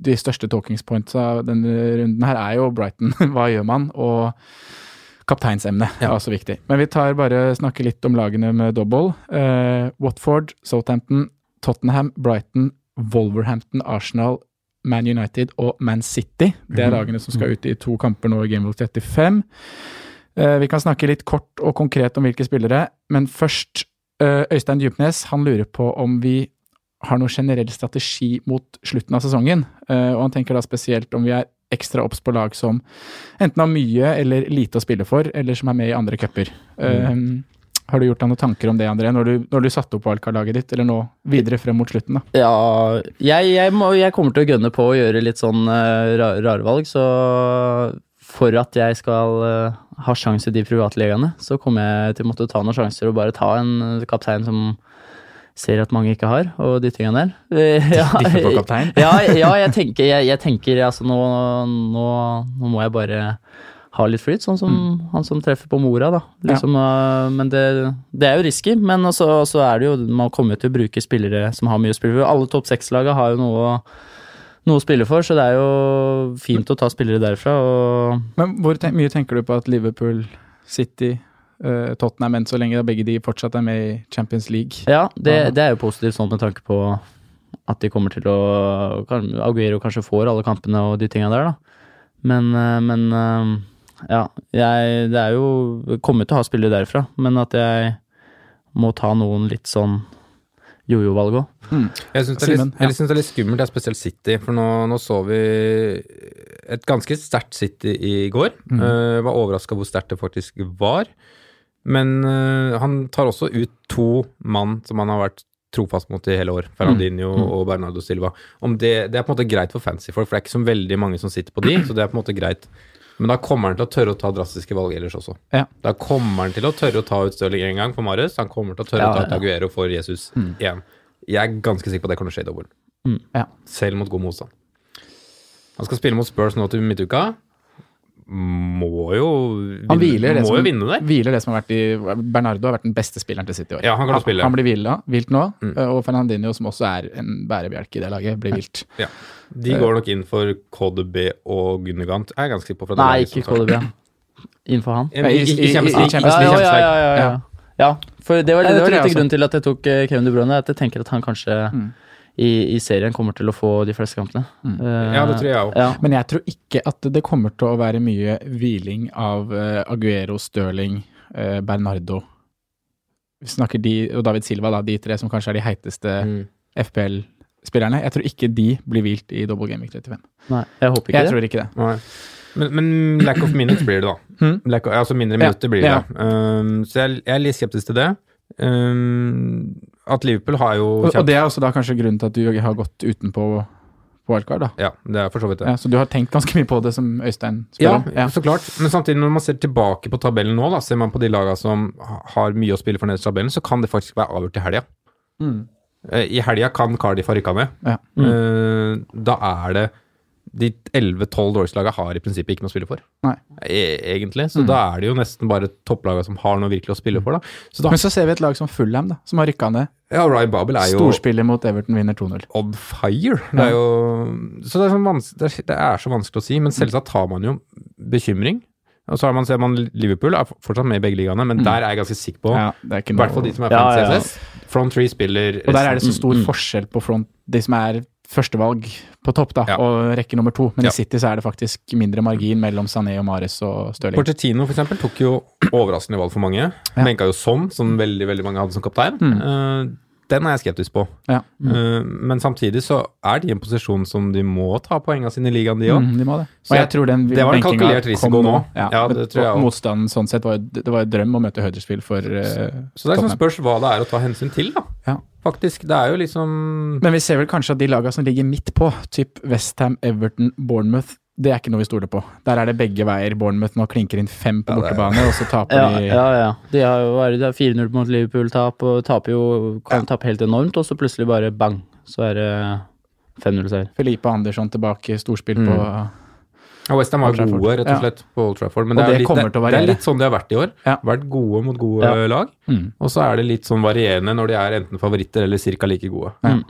de største talking points av denne runden her er jo Brighton. Hva gjør man? Og kapteinsemnet er også viktig. Men vi tar bare snakker litt om lagene med double. Eh, Watford, Southampton, Tottenham, Brighton, Wolverhampton, Arsenal, Man United og Man City. Det er lagene som skal ut i to kamper nå i Game Week 35. Eh, Vi kan snakke litt kort og konkret om hvilke spillere, men først eh, Øystein Djupnes han lurer på om vi har noe generell strategi mot slutten av sesongen. eh, Og han tenker da spesielt om vi er ekstra obs på lag som enten har mye eller lite å spille for, eller som er med i andre cuper. Eh, Har du gjort deg noen tanker om det, André, når du, når du satte opp wildcard-laget ditt, eller nå videre frem mot slutten? da? Ja, jeg, jeg, må, jeg kommer til å gønne på å gjøre litt sånn eh, ra- rare valg, så for at jeg skal eh, ha sjanse i de privatligaene, så kommer jeg til å måtte ta noen sjanser og bare ta en eh, kaptein som ser at mange ikke har, og de tingene der. Eh, Ja, Diffe på kaptein? ja, ja jeg tenker, jeg, jeg tenker altså nå, nå, nå må jeg bare ha litt flyt, sånn som han som treffer på mora, da. Liksom, øh, men det, det er jo risky, men også, også er det jo Man kommer jo til å bruke spillere som har mye å spille for. Alle topp seks-laga har jo noe, å- noe å spille for, så det er jo fint å ta spillere derfra. og Men hvor ten mye tenker du på at Liverpool, City, eh, Tottenham enn så lenge, da begge de fortsatt er med i Champions League? Ja, det, det er jo positivt sånn med tanke på at de kommer til å kan- Aguero kanskje får alle kampene og de tinga der, da. Men, eh, men eh, ja, jeg Det er jo jeg Kommer til å ha spillere derfra, men at jeg må ta noen litt sånn jojo-valg òg. Jeg syns det, er Simen, litt- ja. jeg synes det er litt skummelt, det er spesielt City. For nå, nå så vi et ganske sterkt City i går. Mm. Eh, var overraska hvor sterkt det faktisk var. Men eh, han tar også ut to mann som han har vært trofast mot i hele år. Mm. Ferrandinho og Bernardo Silva. Om det, det er på en måte greit for fancy-folk, for det er ikke så veldig mange som sitter på de, så det er på en måte greit. Men da kommer han til å tørre å ta drastiske valg ellers også. Ja. Da kommer han til å tørre å ta ut Stirling en gang for Marius. Han kommer til å tørre Ja, å ta ut ja. Aguero for Jesus igjen. Jeg er ganske sikker på at det kommer til å skje i dobbel. Mm, ja. Selv mot god motstand. Han skal spille mot Spurs nå til midtuka. Må jo vinne, Han hviler det, må som, jo vinne der. hviler det som har vært i Bernardo har vært den beste spilleren til City i år. Ja, han kan jo spille. Han blir hvila, vilt nå, Mm. eh, og Fernandinho, som også er en bærebjelke i det laget, blir vilt. De går nok inn for KDB og Gundergant. Jeg er ganske sikker på fra det Nei, laget som ikke tar- KDB. Innenfor han. I, i, i, i Champions I- i- League. i- Ja, ja, ja, League. ja, ja, ja. Ja. ja for det var, Nei, det det var tror jeg litt også. grunnen til at jeg tok eh, Kevin De Bruyne. At jeg tenker at han kanskje Mm. i, i serien kommer til å få de fleste kampene. Eh, Mm. Ja, det tror jeg òg. Ja. Men jeg tror ikke at det kommer til å være mye hviling av eh, Aguero, Stirling, eh, Bernardo. Vi snakker de, og David Silva, da, de tre som kanskje er de heiteste Mm. FPL-spillerne. Jeg tror ikke de blir hvilt i Double Game Week 35. Nei, jeg håper ikke Jeg det. tror ikke det. Nei. Men, men lack of minutes blir det, da. Mm. Lack of, altså mindre minutter blir det. Um, så jeg, jeg er litt skeptisk til det. Um, at Liverpool har jo Og, og kjent det er også da kanskje grunnen til at du har gått utenpå på wildcard, da. Ja, det er for så vidt det. Ja, så du har tenkt ganske mye på det, som Øystein spør Ja, om? Ja. så klart. Men samtidig, når man ser tilbake på tabellen nå, da, ser man på de lagene som har mye å spille for nederst i tabellen, så kan det faktisk være avgjort i helga. Hmm. Eh, I helga kan Cardiff ha rykka ned. Ja. Eh, Da er det De 11-12 dårligste har i prinsippet ikke noe å spille for, Nei. Mm. E- egentlig. Så da er det jo nesten bare topplagene som har noe virkelig å spille for, da. Så da Men så ser vi et lag som Fulham, da, som har rykka ned. Ja, Ryan Babel er jo Storspiller mot Everton vinner 2-0. on fire. Det er jo, så det er, sånn vans- det, er, det er så vanskelig å si, men selvsagt har man jo bekymring. Og så har man, ser man Liverpool er fortsatt med i begge ligaene, men der er jeg ganske sikker på, Mm. Ja, det er ikke i noe hvert fall de som Mm, er Ja, fans ja. CSS, Front Three spiller Og der er det så stor forskjell på front, de som er førstevalg på topp, da, Ja. og rekke nummer to. Men Ja. i City så er det faktisk mindre margin mellom Sané og Mares og Stirling. Portettino for eksempel tok jo overraskende valg for mange. Benka jo sånn, som veldig veldig mange hadde som kaptein. Mm. Eh, den er jeg skeptisk på. Ja. Eh, men samtidig så er de i en posisjon som de må ta poengene sine i ligaen, de òg. Mm, de må det. Så Og jeg jeg- tror den det var en benkinga kalkulert risiko kom nå. Ja, det tror jeg og også. Motstanden sånn sett var jo, det var jo drøm å møte Huddersfield for eh, Så det er sånn Tottenham. spørs hva det er å ta hensyn til, da. Ja. Faktisk. Det er jo liksom Men vi ser vel kanskje at de laga som ligger midt på, typ Westham, Everton, Bournemouth, det er ikke noe vi stoler på. Der er det begge veier. Bournemouth nå klinker inn fem på Ja, det er- bortebane, og så taper Ja, de ja, ja. De har jo vært det er 4-0 mot Liverpool-tap, og taper jo kan tape helt enormt, og så plutselig bare bang, så er det 5-0-seier. Felipe Andersson tilbake, storspill Mm. på Ja, Westham var Old jo Trafford. gode, rett Ja. og slett, på Old Trafford. Men Og det er, det litt, kommer det, til å det er variere. litt sånn de har vært i år. Ja. Vært gode mot gode Ja. lag. Mm. Og så er det litt sånn varierende når de er enten favoritter eller cirka like gode. Mm. Ja.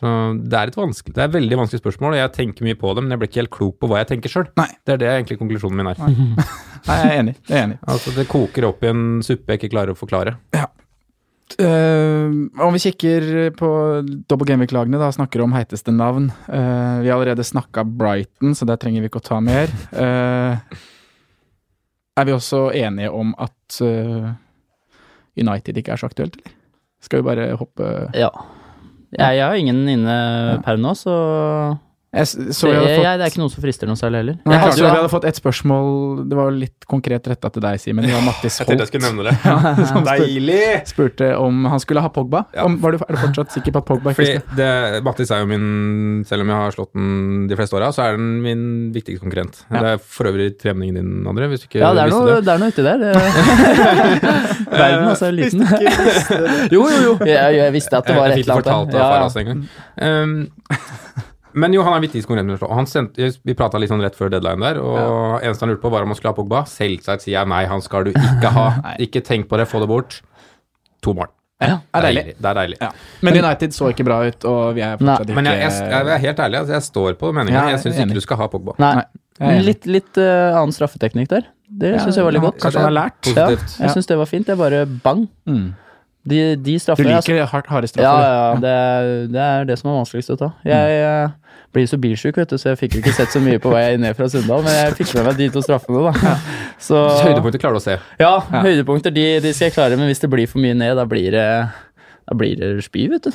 Så det er et vanskelig, det er et veldig vanskelig spørsmål, og jeg tenker mye på det, men jeg blir ikke helt klok på hva jeg tenker sjøl. Nei. Det er det egentlig konklusjonen min er. Nei, jeg er enig. Jeg er enig. Altså, det koker opp i en suppe jeg ikke klarer å forklare. Eh, om vi kikker på double gameweek-lagene, da, snakker om heiteste navn. Eh, vi har allerede snakka Brighton, så der trenger vi ikke å ta mer. Eh, er vi også enige om at eh, United ikke er så aktuelt, eller? Skal vi bare hoppe Ja. Jeg, jeg har ingen inne per nå, så, Jeg s- så det, vi hadde jeg, fått, det er ikke noe som frister noe særlig heller. Nei, Jeg hadde så jo- vi hadde fått et spørsmål, det var litt konkret retta til deg, Simen. Det var Mattis Holt nevne det. som spurte, Deilig! spurte om han skulle ha Pogba. Ja. Om, var du, er du fortsatt sikker på at Pogba ikke Fordi skal det, Mattis er jo min Selv om jeg har slått den de fleste åra, så er den min viktigste konkurrent. Ja. Det er for øvrig treningen din, André, hvis du ikke Ja, det er visste noe, det er noe uti der. det- Verden altså er liten. jo, jo, jo. Jeg, jeg visste at det var Jeg- et eller annet. Jeg fikk det fortalt av Faraz en gang. Um, men jo, han er viktigst konkurrent. med Oslo, og Han sendte, vi prata litt sånn rett før deadline der, og eneste han lurte på, var om han skulle ha Pogba. Selvsagt sier jeg nei, han skal du ikke ha. ikke tenk på det, få det bort. To mål. er deilig. Det er deilig. Ja. Men United så ikke bra ut, og vi er fortsatt ikke Men jeg, jeg, jeg er helt ærlig, altså, jeg står på meningen. Ja, jeg er jeg syns ikke enig. du skal ha Pogba. Nei. Nei, jeg er enig. Litt, litt eh, annen straffeteknikk der. Det syns jeg var litt Ja, godt. kanskje han har lært. Ja, Positivt. jeg syns det var fint. Det er bare bang. Mm. De, de Du straffer liker hardt, harde straffer? Ja, du. ja, ja. Det, er- det er det som er vanskeligst å ta. Jeg Mm. eh, blir så bilsjuk, vet du, så jeg fikk jo ikke sett så mye på vei ned fra Sunndal, men jeg fikk med meg de to straffene, da. Så Høydepunktet klarer du å se. Ja, høydepunkter de, de skal jeg klare, men hvis det blir for mye ned, da blir det da blir det spy, vet du.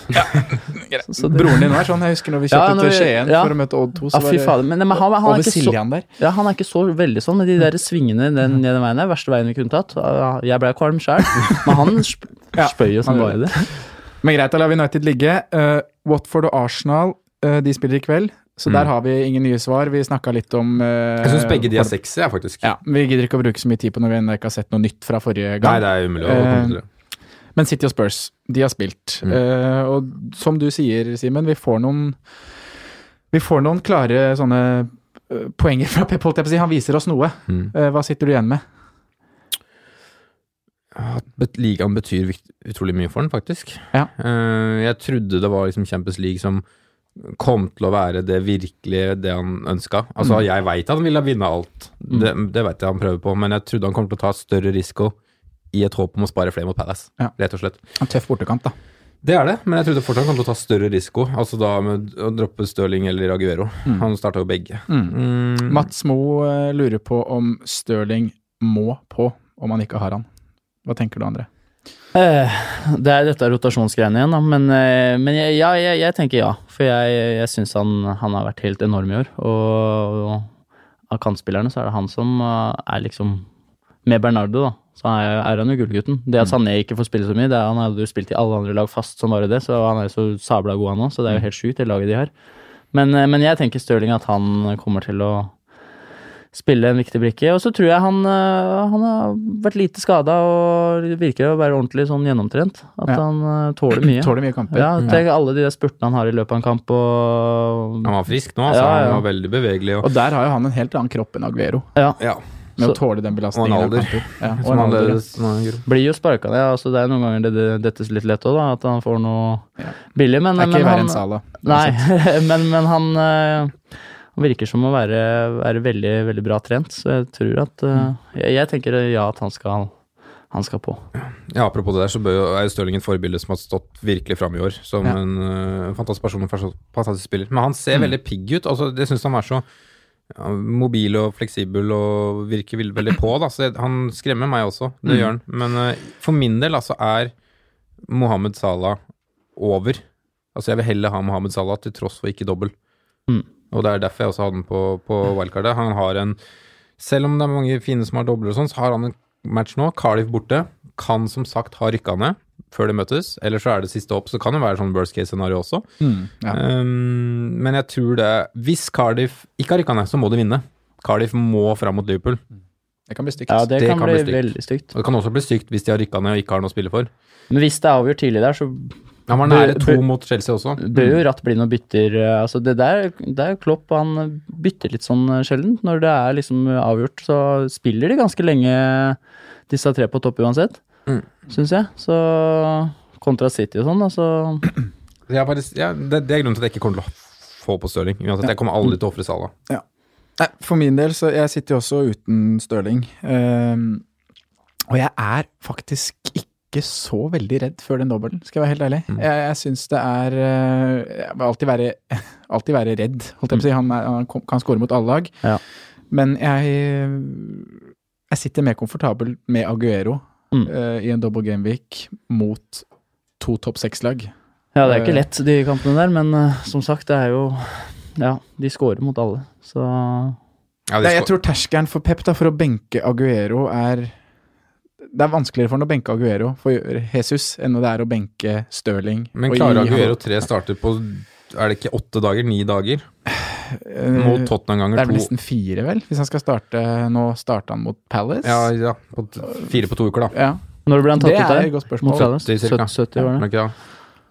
Så- så det- Broren din var sånn, jeg husker når vi Ja, kjørte når til vi- Skien ja. for å møte Odd 2, Ja, så fy var fader. Men, men han, det han, er over ikke så, Siljan der. ja, han er ikke så veldig sånn, men de der svingene den, Mhm. den veien er verste veien vi kunne tatt. Ja, Jeg ble kvalm sjøl, men han sp Ja, spøy jo som han bare gjorde det. Men greit, da lar vi United ligge. Eh, Watford og Arsenal, eh, de spiller i kveld, så der har vi ingen nye svar. Vi snakka litt om eh, Jeg syns begge de er sexy, jeg, faktisk. Ja, men Vi gidder ikke å bruke så mye tid på når vi ennå ikke har sett noe nytt fra Nei, forrige gang. det er umulig å komme til det. Men City og Spurs, de har spilt. Mm. Eh, og som du sier, Simen, vi får noen Vi får noen klare sånne eh, poenger fra Pep, holdt jeg på å si. Han viser oss noe. Mm. Eh, hva sitter du igjen med? at bet- ligaen betyr vikt- utrolig mye for den, faktisk. Ja. Eh, jeg trodde det var liksom Champions League som kom til å være det virkelige det han ønska. Altså, jeg veit han ville vinne alt, det, det veit jeg han prøver på, men jeg trodde han kom til å ta større risiko i et håp om å spare flere mot Palace, Ja. rett og slett. En tøff bortekamp, da. Det er det, men jeg trodde fortsatt han kom til å ta større risiko, altså da med å droppe Stirling eller Aguero. Han starta jo begge. Mm. Mats Mo eh, lurer på om Stirling må på om han ikke har han. Hva tenker du, André? Eh, Det er dette rotasjonsgreiene igjen, da. Men, eh, men jeg, ja, jeg, jeg tenker ja. For jeg, jeg syns han, han har vært helt enorm i år. Og, og av kantspillerne så er det han som eh, er liksom Med Bernardo, da, så er, er han jo gullgutten. Det at Mm. Sané ikke får spille så mye, det er, han Mm. hadde jo spilt i alle andre lag fast som bare det, så han er jo så sabla god han òg, så det er jo helt sjukt, det laget de har. Men, eh, men jeg tenker Stirling at han kommer til å spille en viktig brikke. Og så tror jeg han, eh, han har vært lite skada og virker å være ordentlig sånn gjennomtrent. At Ja. han eh, tåler mye. Tåler mye kamper. Ja, tenk alle de der spurtene han har i løpet av en kamp og Han var frisk nå, altså. Ja, ja. Han var veldig bevegelig. Og, Og der har jo han en helt annen kropp enn Aguero, Ja. ja, med Så- å tåle den belastningen. Og en alder. av kamper. Ja, og som en alder. ja. annerledes nå, Guro. Blir jo sparka ned. Altså, det er noen ganger det, det dettes litt lett òg, da. At han får noe Ja. billig. Men, Det er men ikke verre han- enn Sala. Nei, men, men han eh, han virker som å være, være veldig, veldig bra trent, så jeg tror at eh, Mm. jeg, jeg tenker eh, ja at han skal, han skal på. Ja, apropos det der, så bør jo, er jo Stirling et forbilde som har stått virkelig fram i år. Som Ja. en øh, fantastisk person og fas- fantastisk spiller. Men han ser veldig pigg ut. Altså, jeg syns han er så ja, mobil og fleksibel og virker vel- veldig på. Da. Så jeg, han skremmer meg også, det gjør han. Men øh, for min del altså, er Mohammed Salah over. Altså, jeg vil heller ha Mohammed Salah til tross for ikke dobbel. Mm. Og det er derfor jeg også hadde den på, på wildcardet. Han har en Selv om det er mange fine som har dobler og sånn, så har han en match nå. Cardiff borte. Kan som sagt ha rykka ned før de møtes. Eller så er det siste opp, så kan det være sånn worst case-scenario også. Mm, ja. Um, men jeg tror det Hvis Cardiff ikke har rykka ned, så må de vinne. Cardiff må fram mot Liverpool. Det kan bli stygt. Ja, det, det kan, kan bli, bli stygt. veldig stygt. Og det kan også bli stygt hvis de har rykka ned og ikke har noe å spille for. Men hvis det er avgjort tidlig der, så Han var Bør- nære to bør- mot Chelsea også. bør jo Ratt bli noen bytter. eh, Altså det der, det er Klopp, han bytter litt sånn eh, sjelden. Når det er liksom avgjort, så spiller de ganske lenge disse tre på topp uansett, Mm. syns jeg. Så kontra City og sånn, altså. Jeg er faktisk, ja, det, det er grunnen til at jeg ikke kommer til å få på Stirling. Uansett, jeg kommer aldri til å ofre Salah. Nei, for min del, så jeg sitter jo også uten Stirling. Ehm, og jeg er faktisk ikke så veldig redd før den dobbelen, skal jeg være helt ærlig. Mm. Jeg, jeg syns det er eh, Jeg vil alltid være, alltid være redd, holdt jeg på å si. Han, er, han kom- kan score mot alle lag. Mm. Ja. Men jeg, jeg sitter mer komfortabel med Aguero Mm. eh, i en double gameweek mot to topp seks-lag. Ja, det er ikke lett, de kampene der, men eh, som sagt, det er jo Ja, de scorer mot alle, så Ja, de Nei, jeg sko- tror terskelen for Pep da, for å benke Aguero er Det er vanskeligere for han å benke Aguero for Jesus enn det er å benke Stirling. men og klarer gi han- Aguero tre starter på er det ikke åtte dager? Ni dager? Eh, Mot Tottenham ganger Det er vel to. nesten fire, vel? Hvis han skal starte Nå starter han mot Palace. Ja, ja. På t- fire på to uker, da. Ja, Når ble han Det tatt ut er et der? Mot godt spørsmål. Palace? Det er cirka. 70, 70 var Er det. det ikke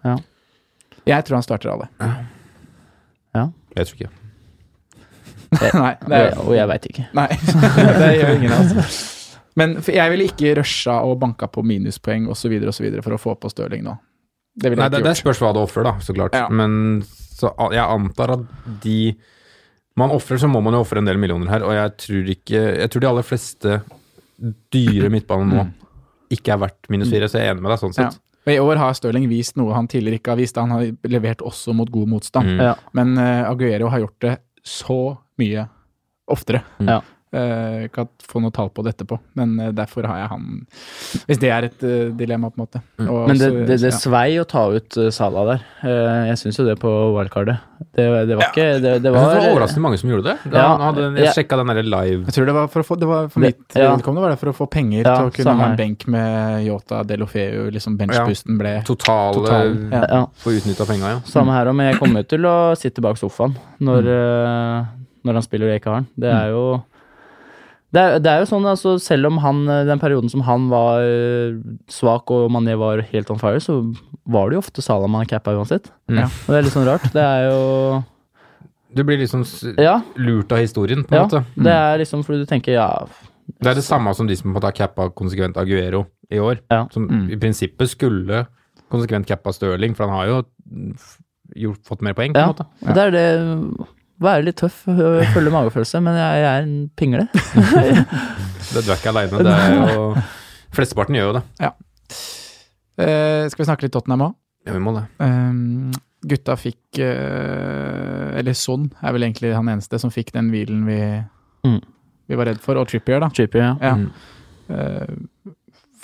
det? Jeg tror han starter alle. Jeg tror ikke. Nei, det Og er, jeg- Og jeg veit ikke. nei. det gjør ingen av oss. Men for jeg ville ikke rusha og banka på minuspoeng osv. osv. for å få på Stirling nå. Det ville Nei, jeg det, ikke det gjort. spørs hva du ofrer, da, så klart. Ja. Men så, a- jeg antar at de Man ofrer, så må man jo ofre en del millioner her, og jeg tror ikke Jeg tror de aller fleste dyre midtbaner nå ikke er verdt minus fire, så jeg er enig med deg sånn Ja. sett. Og I år har Stirling vist noe han tidligere ikke har vist. Han har levert også mot god motstand. Mm. Ja. Men eh, Aguero har gjort det så mye oftere. Mm. Ja. Eh, kan få noe tall på det etterpå, men eh, derfor har jeg han Hvis det er et eh, dilemma, på en måte. Og Men det, så- det, det ja. svei å ta ut eh, Salah der. Eh, Jeg syns jo det på wildcardet. Det, det var ikke Det, Jeg synes det var det var overraskende mange som gjorde det. Da, Ja. han hadde, Ja. jeg sjekka den derre live Jeg tror det var for å få det var for Det- mitt ja. vedkommende var det for å få penger Ja, til å kunne samme ha her. en benk med Yota Delofeu, liksom benchboosten ble totale Total, ja. Ja, Få utnytta penga, ja. samme her òg, men jeg kommer jo til å sitte bak sofaen Mm. når, eh, når han spiller og jeg ikke har han. Det er jo det er, det er jo sånn, altså, selv om han, eh, den perioden som han var eh, svak og Mané var helt on fire, så var det jo ofte Salah man cappa uansett. Mm. Ja. Og det er litt sånn rart. Det er jo Du blir liksom s- Ja, lurt av historien, på en ja måte. det er liksom fordi du tenker ja, Det er det samme som de som på en måte har cappa konsekvent Aguero i år. Ja. Som i prinsippet skulle konsekvent cappa Stirling, for han har jo f- gjort, fått mer poeng, på ja. en måte. Og det er det Være litt tøff, øh, følge magefølelse, men jeg, jeg er en pingle. Det, du er ikke aleine. Det er jo Flesteparten gjør jo det. Eh, Skal vi snakke litt Tottenham òg? Ja, vi må det. Ehm, gutta fikk eh, Eller Son er vel egentlig han eneste som fikk den hvilen vi, Mm. vi var redd for, og Trippier, da. Cheapy, ja. Ja. Mm. Eh,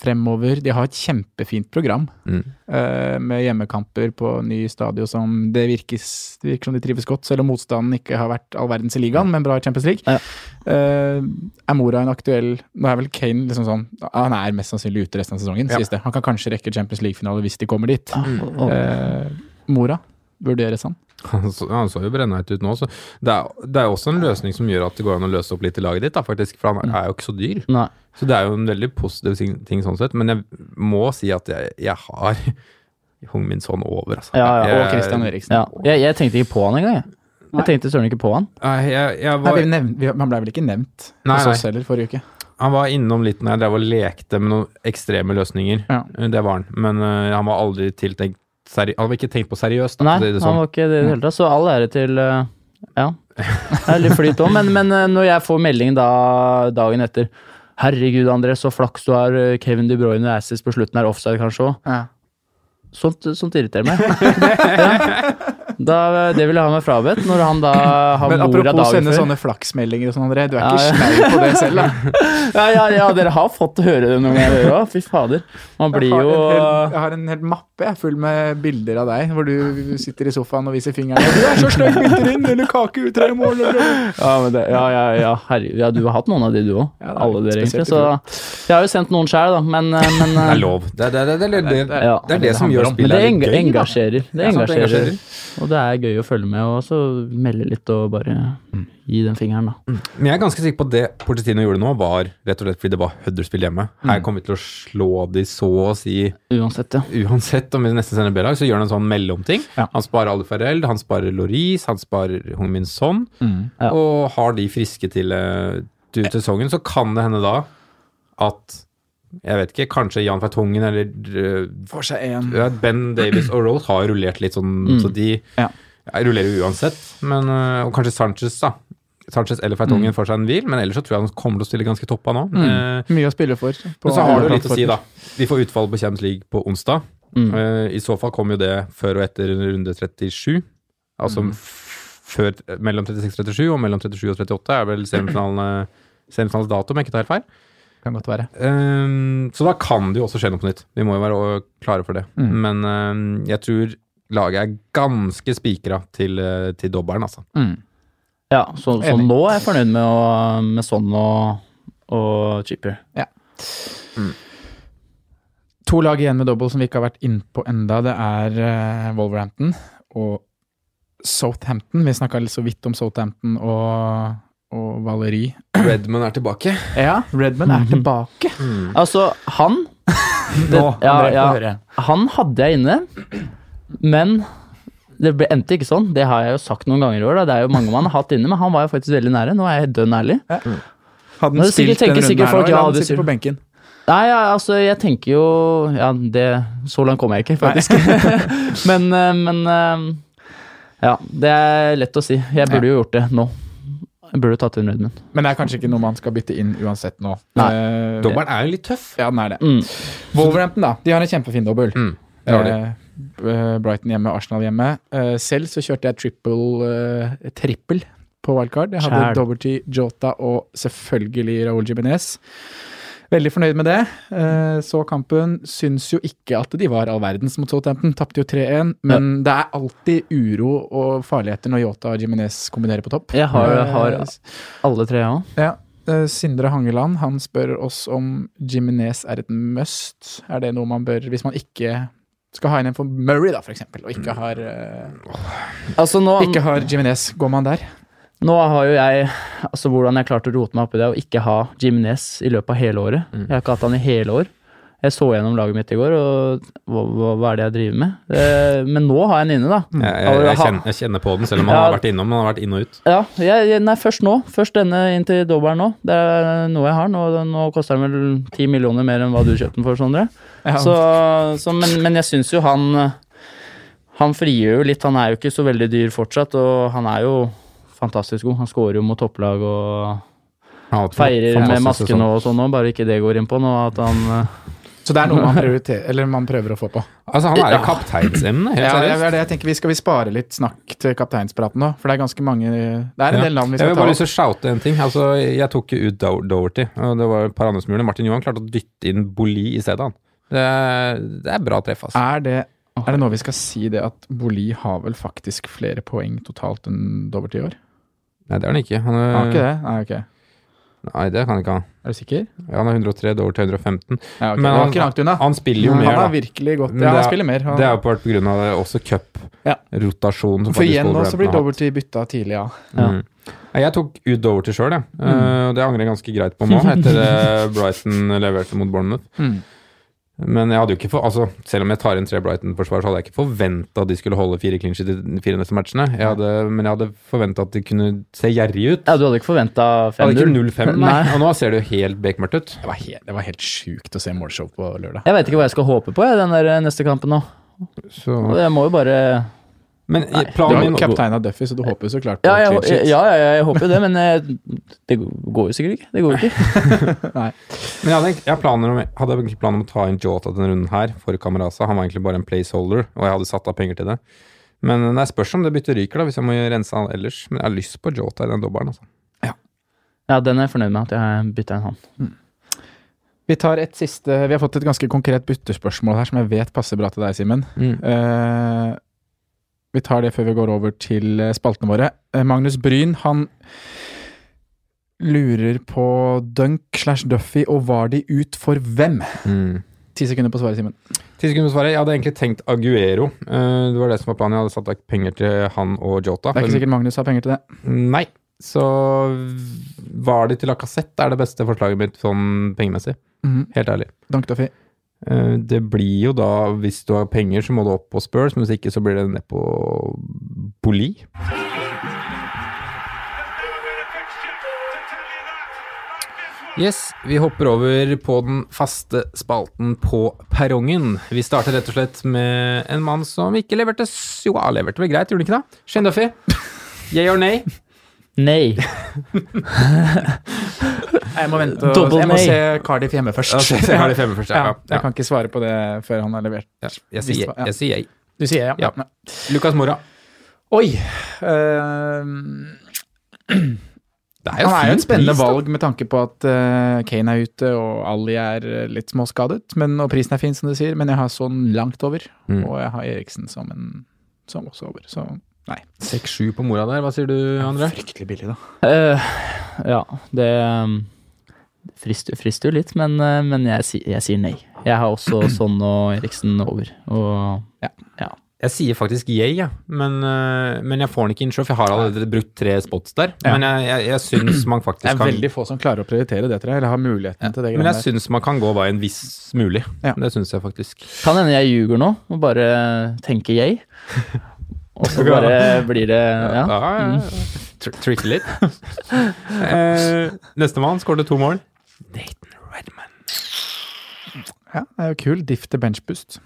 fremover De har et kjempefint program Mm. eh, med hjemmekamper på ny stadion som det, virkes, det virker som de trives godt, selv om motstanden ikke har vært all verdens i ligaen, men bra i Champions League. Ja. Eh, er Mora en aktuell Nå er vel Kane liksom sånn ja, Han er mest sannsynlig ute resten av sesongen, Ja. Ah, Eh, sies det. Han kan kanskje rekke Champions League-finale hvis de kommer dit. Og- og- Eh, Mora vurderes han. Han så, han så jo brennheit ut nå, så det er, det er jo også en løsning som gjør at det går an å løse opp litt i laget ditt, da, faktisk, for han er jo ikke så dyr. Nei. Så det er jo en veldig positiv ting, ting sånn sett, men jeg må si at jeg, jeg har Hung Min Son over, altså. Ja, ja, Og Jeg- Christian Eriksen. Ja. Jeg, jeg tenkte ikke på han engang, jeg. Jeg tenkte søren ikke på han. Nei, jeg, jeg Nei, var, vi nevn- vi, han ble vel ikke nevnt Nei, hos nei. oss heller forrige uke. han var innom litt når jeg drev og lekte med noen ekstreme løsninger. Eh, Ja. Det var han, men øh, han var aldri tiltenkt seri Han var ikke tenkt på seriøst, da. Nei, for å si det han sånn. var ikke det i det hele tatt. Så all ære til eh, Ja. Det er litt flyt òg, men, men eh, når jeg får melding da, dagen etter Herregud, André, så flaks du har. eh, Kevin De Bruyne og Assis på slutten er offside, kanskje òg. Sånt, sånt irriterer meg. ja. da, det vil jeg ha meg frabedt. Når han da har Men mora apropos dagen sende før. sånne flaksmeldinger og sånn, André. Du er Ja, ikke ja. snau på det selv, da. Ja, ja, ja, dere har fått høre det noen ganger òg. Fy fader. Man blir jeg, jo har en hel, jeg har en hel mappe jeg, full med bilder av deg, hvor du sitter i sofaen og viser fingeren. Du er så sløy, bilder inn, eller kake ut, tre mål, eller Ja, men det, ja, ja, ja, herregud. Ja, du har hatt noen av de, du òg. Ja, det er Alle dere, egentlig. spesielt Så jeg har jo sendt noen sjøl, da. Men, eh, men Det eh, er lov. Det er det, det, er- det, er- det, er- Ja. det er det som gjør Men spillet det litt eng gøy. da. engasjerer. Det Ja, sant, det engasjerer. engasjerer. Og det er gøy å følge med, og så melde litt og bare Mm. gi den fingeren, da. Men jeg er ganske sikker på at det Porcetino gjorde nå, var rett og slett fordi det var Huddersfield hjemme. Mm. Her kommer vi til å slå de så å si Uansett, ja. uansett om vi nesten sender B-lag, så gjør han en sånn mellomting. Ja. Han sparer Ali Farrell, han sparer Loris, han sparer Hung Min Son. Mm, Ja. Og har de friske til, eh, til til sesongen, så kan det hende da at jeg vet ikke, kanskje Jan Vertongen eller eh, Får seg en. ja, Ben Davis og Rose har jo rullert litt sånn, så de Mm. Ja. ja, rullerer jo uansett. Men, øh, og kanskje Sanchez, da. Sanchez eller Mm. Fertongen får seg en hvil, men ellers så tror jeg han kommer til å stille ganske toppa nå. Eh, Mye å spille for. Mm. på men så har alle det jo litt å si, plattformer. da. Vi får utfall på Champions League på onsdag. Mm. Eh, I så fall kommer jo det før og etter runde 37. Altså Mm. f- før, mellom 36 og 37, og mellom 37 og 38 er vel semifinalene semifinalens dato, om jeg ikke tar helt feil. Kan godt være. Ehm, så da kan det jo også skje noe på nytt. Vi må jo være å- klare for det. Mm. Men ehm, jeg tror laget er ganske spikra til, eh, til dobbelen, altså. Mm. ja så, så Enig. nå er jeg fornøyd med, å, med sånn og, og chipper. To lag igjen med dobbel som vi ikke har vært innpå enda. Det er eh, Wolverhampton og Southampton. Vi snakka så vidt om Southampton og, og Valeri. Redman er tilbake. Ja, Redman er tilbake. Altså, han det, ja, Mm. André, få ja, høre. Han hadde jeg inne, men det ble, endte ikke sånn. Det har jeg jo sagt noen ganger i år. Da. Det er jo mange man har hatt inne, men han var jo faktisk veldig nære. Nå er jeg dønn ærlig. Hadde Nå sikkert han spilt den tenker runden sikkert her folk, nå, eller ja, hadde du han sittet sier- på benken? Nei, ja, altså, jeg tenker jo Ja, det Så langt kommer jeg ikke, faktisk. men, eh, men eh, Ja, det er lett å si. Jeg burde jo gjort det nå. Jeg burde tatt inn Redmond. Men det er kanskje ikke noe man skal bytte inn uansett nå. Nei. Eh, Dobbelen er jo litt tøff. Ja, den er det. Mm. Wolverhampton, da. De har en kjempefin dobbel. Mm, det har de. Eh, eh, Brighton hjemme, Arsenal hjemme. Eh, selv så kjørte jeg triple, eh, trippel på wildcard. Jeg hadde Kjæl. Doberty, Jota og selvfølgelig Raúl Jiménez. Veldig fornøyd med det. Eh, så kampen. Syns jo ikke at de var all verdens mot Southampton. Tapte jo 3-1. Men det er alltid uro og farligheter når Jota og Jiménez kombinerer på topp. Jeg har, Eh, har alle tre, jeg òg. ja. eh, Sindre Hangeland han spør oss om Jiminez er et must. Er det noe man bør Hvis man ikke skal ha inn en for Murray, da, for eksempel, og Mm. ikke har, eh, Altså, nå, ikke har Jiminez, går man der? nå har jo jeg Altså, hvordan jeg klarte å rote meg oppi det og ikke ha Jimenez i løpet av hele året. Mm. Jeg har ikke hatt han i hele år. Jeg så gjennom laget mitt i går, og hva, hva, hva er det jeg driver med? Eh, men nå har jeg han inne, da. Mm. Jeg, jeg, jeg, Ha- kjenner, jeg kjenner på den, selv om han Ja. har vært innom. Han har vært inn og ut. Ja, jeg, jeg- nei, først nå. Først denne inn til dobbelen nå. Det er noe jeg har. Nå, nå koster den vel ti millioner mer enn hva du kjøpte den for, Sondre. Ja. Så, så, men, men jeg syns jo han eh, Han frigjør jo litt. Han er jo ikke så veldig dyr fortsatt, og han er jo fantastisk god. Han scorer jo mot topplag og Han har hatt feirer fantastisk med masken sesong. og sånn òg, bare ikke det går inn på nå. At han eh, Så det er noe man, prioriterer, eller man prøver å få på. Altså, han er jo kapteinsemne, helt Ja, det seriøst. er det jeg tenker, vi Skal vi spare litt snakk til kapteinspraten nå? For det er ganske mange Det er en Ja. del navn vi Jeg skal vil ta bare lyst opp. til å shoute en ting. Altså, jeg tok jo ut Dow- Doherty, og det var et par andre som gjorde det. Martin Johan klarte å dytte inn Boli i stedet. han. Det er, det er bra treff, altså. Er det, er det nå vi skal si det at Boli har vel faktisk flere poeng totalt enn Doverty i år? Nei, det er han ikke. Han Har er, ikke det? Nei, ok. Nei, det kan ikke han. Er du sikker? Ja, Han er 103, det er over til 115. Ja, ok, Men det var han- ikke langt unna. Han spiller jo han mer, har da. virkelig gått Men Ja, det han er- spiller mer. Han, Det er jo på hvert grunn av det, også Ja. cup-rotasjon. som for faktisk igjen nå så Wolverhampton blir har hatt. Doverty bytta tidlig av. Ja. Mm. Nei, Jeg tok ut Doverty sjøl, jeg. Mm. Eh, og det angrer jeg ganske greit på nå, etter det Brighton leverte mot Bournemouth. Men jeg hadde jo ikke for, altså, selv om jeg tar inn tre Brighton-forsvar, så hadde jeg ikke forventa at de skulle holde fire clincher de fire neste matchene. Jeg hadde, men jeg hadde forventa at de kunne se gjerrige ut. Ja, du hadde ikke forventa Jeg hadde 5-0. ikke 0-5, nei. Nei. Og nå ser det jo helt bekmørkt ut. Det var helt, det var helt sjukt å se målshow på lørdag. Jeg veit ikke hva jeg skal håpe på jeg, den der eh, neste kampen nå. Så. Jeg må jo bare Men Du planen har min jo kaptein av Duffy, så du håper jo så klart på Ja, jeg, clean sheet. ja, ja, ja, jeg håper jo det, men eh, det går jo sikkert ikke. Det går jo ikke. Men jeg hadde, egentlig- jeg hadde planer om, jeg hadde egentlig planer om å ta inn Jota denne runden her for Kamerasa. Han var egentlig bare en placeholder, og jeg hadde satt av penger til det. Men det spørs om det byttet ryker, da, hvis jeg må rense han ellers. Men jeg har lyst på Jota i den dobbelen. Altså. Ja, den er jeg fornøyd med at jeg bytta inn han. Vi tar et siste Vi har fått et ganske konkret byttespørsmål her som jeg vet passer bra til deg, Simen. Mm. Eh, vi tar det før vi går over til eh, spaltene våre. Eh, Magnus Bryn, han lurer på Dunk slash Duffy og var de ut for hvem? Mm. Ti sekunder på svaret, Simen. Ti sekunder på svaret. Jeg hadde egentlig tenkt Aguero. Eh, Det var det som var planen. Jeg hadde satt av penger til han og Jota. Det er ikke Men- sikkert Magnus har penger til det. Nei. Så var det til Lacassette er det beste forslaget mitt sånn pengemessig. Mhm. Helt ærlig. Dunk Duffy. Eh, Det blir jo da, hvis du har penger, så må du opp på Spurs, men hvis ikke så blir det ned på Boli. Yes, vi hopper over på den faste spalten på perrongen. Vi starter rett og slett med en mann som ikke leverte s- Jo, han leverte vel greit, gjorde han ikke det? Shane Duffy. Yay or nay? Nei. Jeg må vente og- Double jeg må nei. se Cardiff hjemme først. Jeg har de fem først, ja. Ja, ja. jeg ja. kan ikke svare på det før han har levert. ja. Jeg sier jeg. jeg, sier jeg. Du sier ja? Ja. Lucas Mora. Oi! Eh, Det Han er jo fin et spennende pris, da. valg med tanke på at eh, Kane er ute og Ali er eh, litt småskadet. Men, og prisen er fin, som du sier, men jeg har sånn langt over. Mm. Og jeg har Eriksen som, en, som også over. Så nei. 6-7 på mora der, hva sier du, André? Fryktelig billig, da. Eh, ja, det um, frister, frister jo litt, men, eh, men jeg, si- jeg sier nei. Jeg har også Son og Eriksen over. Og Jeg sier faktisk yay, ja. men, øh, men jeg får den ikke inn sjøl, for jeg har allerede brukt tre spots der. Ja. Men jeg, jeg, jeg syns man faktisk Det er kan veldig få som klarer å prioritere det, tror jeg. Eller har muligheten til det. Men jeg greiene der. syns man kan gå veien hvis mulig. Ja. Det syns jeg faktisk. kan hende jeg ljuger nå og bare tenker jeg. Og så bare blir det Ja. ja, Mm. ja. Tr- Tricky litt. eh, Nestemann skåret to mål. Nathan Redman. Ja, det er jo kul. Diff til benchboost.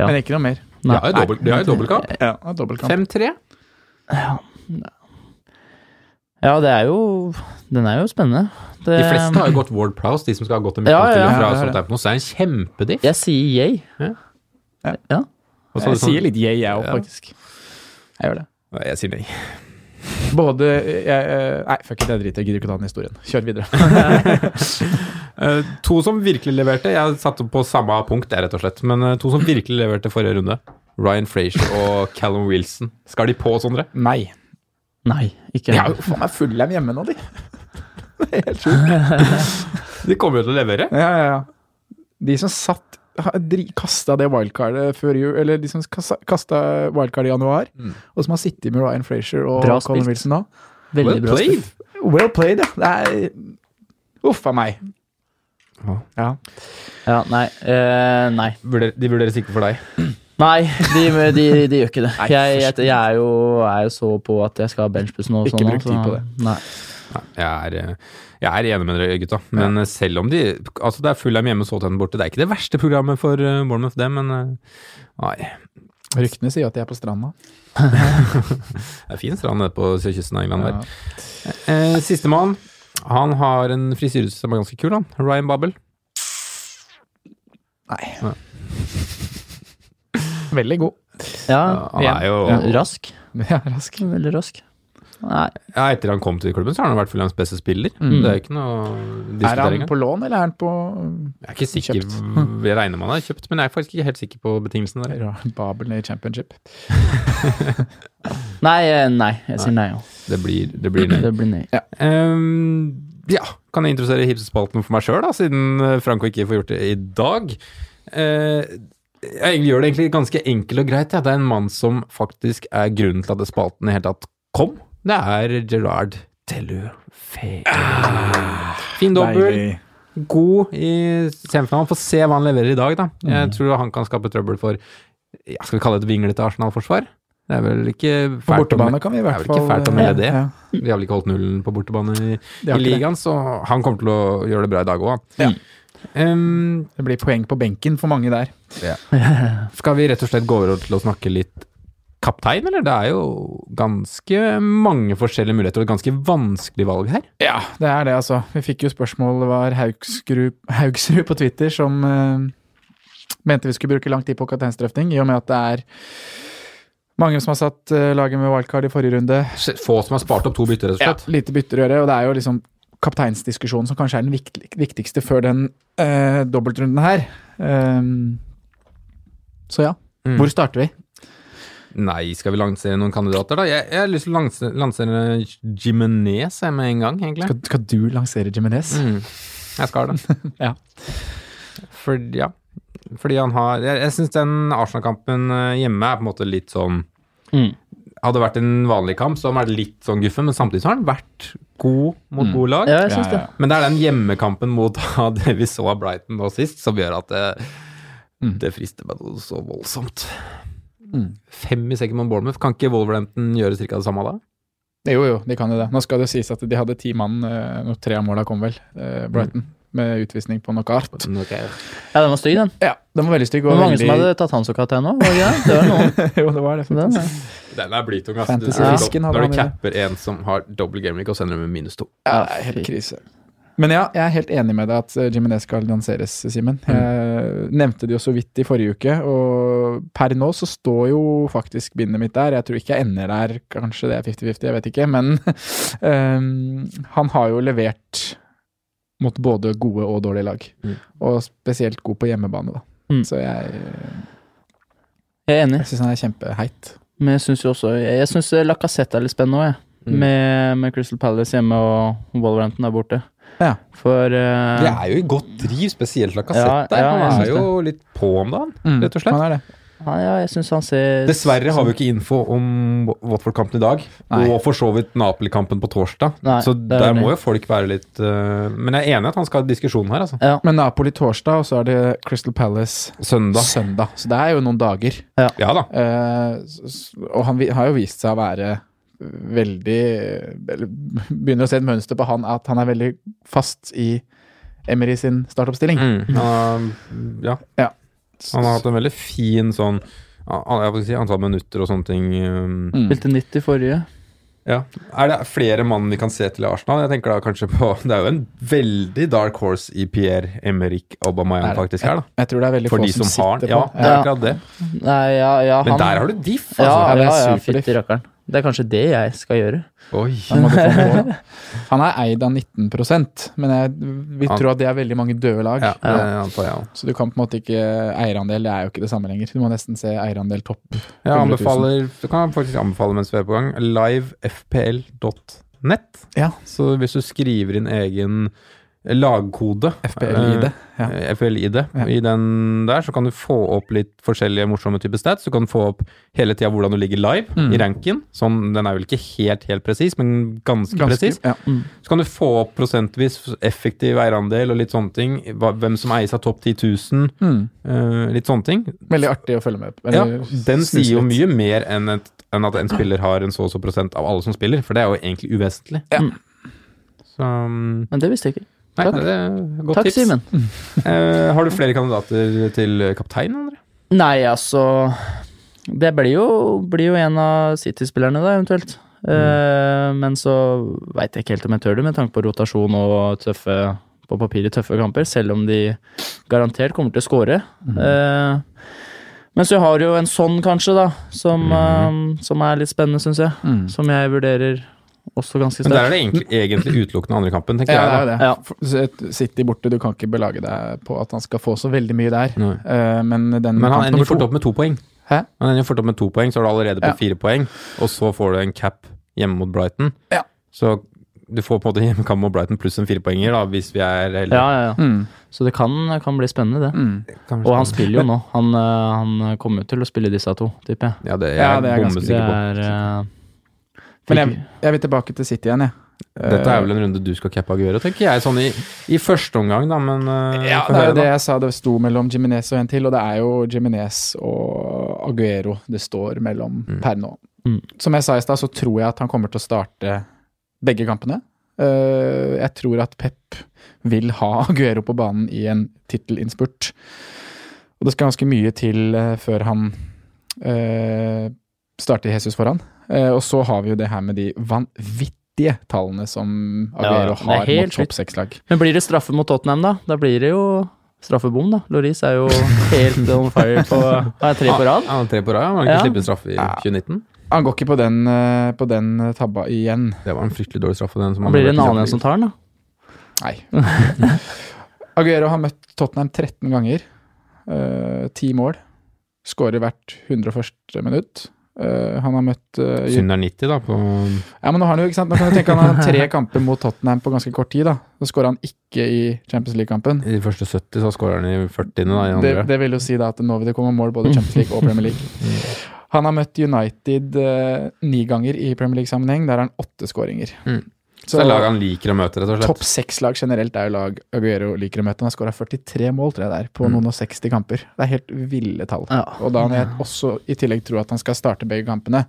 Ja. Men ikke noe mer. De Nei. har jo dobbelt- de har jo dobbeltkamp. Ja, og dobbeltkamp. 5-3. ja, det er jo Den er jo spennende. Det, De fleste har jo gått Ward Prowse, de som skal ha gått en Ja, ja, midtball til ja. Um, fra Ja, det er det. Southampton. Så det er en kjempediff. Jeg sier yay. Og så er Jeg det sånn- sier litt yay, jeg òg, Ja. faktisk. Jeg gjør det. Nei, Jeg sier nei. Både jeg, eh, Nei, fuck it, jeg driter. Jeg gidder ikke ta den historien. Kjør videre. Eh, to som virkelig leverte. Jeg satte på samme punkt, der, rett og slett. Men eh, to som virkelig leverte forrige runde. Ryan Frazier og Callum Wilson. Skal de på, Sondre? Nei. Nei, ikke De har jo faen meg fullhjem hjemme nå, de. De kommer jo til å levere. Ja, ja, ja. De som satt Kasta det wildcardet før jul, eller de som kasta wildcardet i januar, Mm. og som har sittet med Ryan Frazier og Bra Colin spilt. Wilson nå. Veldig bra. spilt. Well played, ja. Det er Uff a meg. Ja. Ja. Ja, nei. eh, nei. Vurder- De vurderes ikke for deg. Nei, de, de, de gjør ikke det. Nei, Jeg, jeg, jeg er, jo, er jo så på at jeg skal ha benchbuss nå. og Ikke sånn, bruk så- tid på det. Nei. Nei, Jeg er, eh, jeg er enig med dere, gutta. Men eh, selv om de Altså, det er full av hjemme og Southampton borte. Det er ikke det verste programmet for eh, Bournemouth, det, men eh, Nei. Ryktene sier at de er på stranda. Det er fin strand nede på sørkysten av England Ja. der. Eh, Sistemann. Han har en frisyre som er ganske kul, han. Ryan Babel. Nei. Veldig god. Ja, Han er jo ja. Rask. Ja, rask. Veldig rask. Nei. Ja, etter han kom til klubben, så har han vært Fulhams beste spiller. Det er jo ikke noe Mm. Er diskutering. han engang. på lån, eller er han på Jeg er ikke sikker, jeg regner man har kjøpt, men jeg er faktisk ikke helt sikker på betingelsene der. Babel i championship? Nei, eh, nei. Jeg sier nei. ja. Det blir, det blir nei. Det blir nei. Ehm, ja, kan jeg introdusere hipsespalten for meg sjøl, da, siden eh, Franco ikke får gjort det i dag. Eh, jeg gjør det egentlig ganske enkelt og greit. Ja. Det er en mann som faktisk er grunnen til at spalten i hele tatt kom. Det er Gerard Tellufé. Fin dobbel, Deilig. god i semifinalen. Få se hva han leverer i dag, da. Jeg tror han kan skape trøbbel for ja, Skal vi kalle det et vinglete Arsenal-forsvar? Det er vel ikke fælt På om- bortebane kan vi i hvert Det er vel fall ikke fælt å melde det. Ja, ja. De har vel ikke holdt nullen på bortebane i, Det har i ikke det. ligaen, så han kommer til å gjøre det bra i dag òg. Ja. Det blir poeng på benken for mange der. skal vi rett og slett gå over til å snakke litt kaptein, eller? Det er jo ganske mange forskjellige muligheter og et ganske vanskelig valg her. Ja, det er det, altså. Vi fikk jo spørsmål det var Haugsrud, Haugsrud på Twitter som eh, mente vi skulle bruke lang tid på kapteinsdrøfting, i og med at det er mange som har satt eh, laget med wildcard i forrige runde. Få som har spart opp to bytter, rett og slett. Lite bytter å gjøre, og det er jo liksom kapteinsdiskusjonen som kanskje er den viktig- viktigste før den eh, dobbeltrunden her. Ehm, så ja. Mm. Hvor starter vi? Nei, skal vi lansere noen kandidater, da? Jeg, jeg har lyst til å lanse- lansere Jimenez jeg, med en gang, egentlig. Skal, skal du lansere Jimenez? Mm. Jeg skal det. Ja. For, ja. Fordi han har Jeg, jeg syns den Arsenal-kampen eh, hjemme er på en måte litt sånn Mm. Hadde vært en vanlig kamp, så hadde han vært litt sånn guffen, men samtidig så har han vært god Mm. mot gode lag. Ja, jeg syns det. Men det er den hjemmekampen mot da, det vi så av Brighton nå sist, som gjør at det, Mm. det frister meg noe så voldsomt. Fem i sekken mot Bournemouth. Kan ikke Wolverhampton gjøre ca. det samme da? Det- Jo, jo, de kan jo det. Nå skal det jo sies at de hadde ti mann eh, når tre av måla kom, vel, eh, Brighton, med utvisning på knockout. Okay. Ja, den var stygg, den. Ja, den var veldig stygg. Det Og var mange veldig- som hadde tatt han som kaptein nå. var det ikke det? Det var noen. jo, det var det. Den, faktisk. ja. Den er blytung, ass. Du- Fantasy-fisken Når hadde du han i capper en som har dobbel gameweek og sender dem med minus to. Ja, det er helt krise. Men ja, Ah, Mm. jeg er helt enig med deg at eh, Jimenez skal lanseres, Simen. Jeg nevnte det jo så vidt i forrige uke, og per nå så står jo faktisk bindet mitt der. Jeg tror ikke jeg ender der, kanskje det er 50-50, jeg vet ikke. Men eh, han har jo levert mot både gode og dårlige lag. Mm. Og spesielt god på hjemmebane, da. Mm. Så jeg, eh, Jeg er enig. jeg syns han er kjempeheit. Men jeg syns jo også Jeg, jeg syns Lacassette er litt spennende òg, jeg. Mm. Med, med Crystal Palace hjemme og Wolverhampton der borte. Ja. For eh, Det er jo i godt driv, spesielt Ja, Lacassette. ja, jeg han er synes jo litt på om dagen, rett og slett. Han er det. ja, ja, jeg syns han ser Dessverre har vi jo ikke info om Watford-kampen i dag, Nei. og for så vidt Napoli-kampen på torsdag. Nei, så det er der det. må jo folk være litt eh, Men jeg er enig i at han skal ha diskusjon her, altså. Ja. Men Napoli torsdag, og så er det Crystal Palace Søndag. søndag. Så det er jo noen dager. Ja da. Eh, s- s- og han vi- har jo vist seg å være veldig eller Begynner å se et mønster på han at han er veldig fast i Emery sin startoppstilling. Mm. Han, har- ja. han har hatt en veldig fin sånn an- jeg vil si antall minutter og sånne ting. eh, Mm. Spilte 90 forrige. Ja. Er det flere mann vi kan se til i Arsenal? Jeg tenker da kanskje på Det er jo en veldig dark horse i Pierre Emerick Aubameyang Er det- faktisk her, da. Jeg tror det er veldig For få de som har sitter den. Ja, på. det er Ja. akkurat det. Nei, ja, ja, han Men der har du diff, Ja, altså. det er ja, ja, superdiff. fytti rakkeren. Det er kanskje det jeg skal gjøre. Oi. Da må du få med på. Han er eid av 19 men jeg vil Han- tro at det er veldig mange døde lag. Ja, det antar jeg også. Så du kan på en måte ikke Eierandel det er jo ikke det samme lenger. Du må nesten se eierandel topp. Jeg 100 000. anbefaler, du kan faktisk anbefale mens vi er på gang, livefpl.net. Ja. Så hvis du skriver inn egen lagkode FPL-ID. Ja. eh, FPL-ID Ja. i den der, så kan du få opp litt forskjellige morsomme typer stats. Du kan få opp hele tida hvordan du ligger live i ranken. Sånn, den er vel ikke helt, helt presis, men ganske, Ganske- presis. Ja. Så kan du få opp prosentvis effektiv eierandel og litt sånne ting. Hva, hvem som eies av topp 10 000, Mm. eh, litt sånne ting. Veldig artig å følge med på. Ja, Eller den snuse sier jo mye litt. mer enn, et, enn at en spiller har en så og så prosent av alle som spiller, for det er jo egentlig uvesentlig. Ja. Så um, Men det visste jeg ikke. Nei, Takk. det er et godt Takk, tips. Simen. Eh, har du flere kandidater til kaptein, André? Nei, altså Det blir jo, blir jo en av City-spillerne, da, eventuelt. Eh, men så veit jeg ikke helt om jeg tør det, med tanke på rotasjon og tøffe på papiret tøffe kamper, selv om de garantert kommer til å score. Eh, men så har du jo en sånn, kanskje, da, som, eh, som er litt spennende, syns jeg. Mm. Som jeg vurderer også ganske Men der sterkt. er det egentlig, egentlig utelukkende andre kampen, tenker Ja, det er jeg. jo det. Ja. For- så et City borte, du kan ikke belage deg på at han skal få så veldig mye der. Nei. Eh, men den da Men han kampen ender nummer fort to opp med to poeng. Hæ? Men den er fort opp med to poeng, så er du allerede på Ja. fire poeng. Og så får du en cap hjemme mot Brighton. Ja. Så du får på en måte hjemmekamp mot Brighton pluss en firepoenger, da, hvis vi er heldige. Ja, ja, ja. Mm. Så det kan, kan bli spennende, det. Mm. Kan vi Og si. han spiller jo nå. Han, eh, han kommer jo til å spille disse to, tipper jeg. Ja, det er Ja, jeg det er ganske- bombesikker Det på. er eh, Men jeg, jeg vil tilbake til City igjen, jeg. Dette eh, er vel en runde du skal cappe Aguero, tenker jeg, sånn i, i første omgang, da, men eh, Ja, vi får det er høre, jo det da. jeg sa det sto mellom Jiminez og en til, og det er jo Jiminez og Aguero det står mellom per nå. Mm. Som jeg sa i stad, så tror jeg at han kommer til å starte begge kampene. Eh, jeg tror at Pep vil ha Aguero på banen i en tittelinnspurt. Og det skal ganske mye til eh, før han eh, starter Jesus foran. Eh, og så har vi jo det her med de vanvittige tallene som Ja, Aguero det er har helt mot sjukt. topp seks-lag. Men blir det straffe mot Tottenham, da? Da blir det jo straffebom, da. Loris er jo helt on fire på er tre på rad. Ja, tre på rad, ja. Man kan ikke Ja. slippe en straffe i 2019. Han går ikke på den, eh, på den tabba igjen. Det var en fryktelig dårlig straffe. Den som Da han blir det ble en annen en tilsatt som tar den, da. Nei. Aguero har møtt Tottenham 13 ganger. eh, Ti mål. Skårer hvert 101. minutt. Eh, han har møtt eh, i. Synd det er 90, da. På, Ja, men nå har han jo, ikke sant? Nå kan du tenke han har tre kamper mot Tottenham på ganske kort tid. da. Så skårer han ikke i Champions League-kampen. I de første 70 så skårer han i 40. da, i Det, andre. det vil jo si da at nå vil det komme mål både i Champions League og Premier League. Han har møtt United eh, ni ganger i Premier League-sammenheng. Der har han åtte skåringer. Mm. så det er lag han liker å møte, rett og slett. Topp seks-lag generelt er jo lag Aguero liker å møte. Han har skåra 43 mål tror jeg, der, Mm. på noen og 60 kamper. Det er helt ville tall. Og da når jeg også i tillegg tror at han skal starte begge kampene,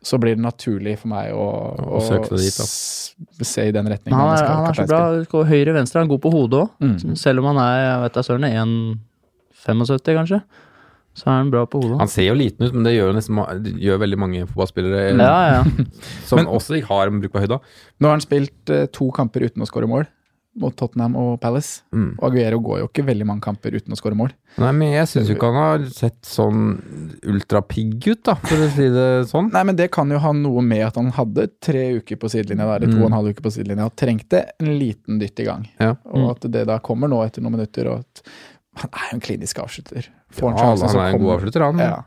så blir det naturlig for meg å, Å søke seg dit, da. s- se i den Men retningen. han er, skal han er så kaptein bra. spille. går Høyre-venstre, han er god på hodet òg. Mm. Selv om han er jeg vet da søren 1,75 kanskje, så er han bra på hodet. Han ser jo liten ut, men det gjør, jo nesten, ma- det gjør veldig mange fotballspillere eh, Ja, ja. ja. som Men- også ikke har bruk på høyda. Nå har han spilt eh, to kamper uten å skåre mål, mot Tottenham og Palace. Mm. Og Aguero går jo ikke veldig mange kamper uten å skåre mål. Nei, men jeg syns jo ikke han har sett sånn ultrapigg ut, da, for å si det sånn. Nei, men det kan jo ha noe med at han hadde tre uker på sidelinja, da, eller to Mm. og en halv uke på sidelinja, og trengte en liten dytt i gang. Ja. Mm. Og at det da kommer nå etter noen minutter, og at han er jo en klinisk avslutter. Ja, Får han han sjansen, så er en god kommer- avslutter, han. Ja.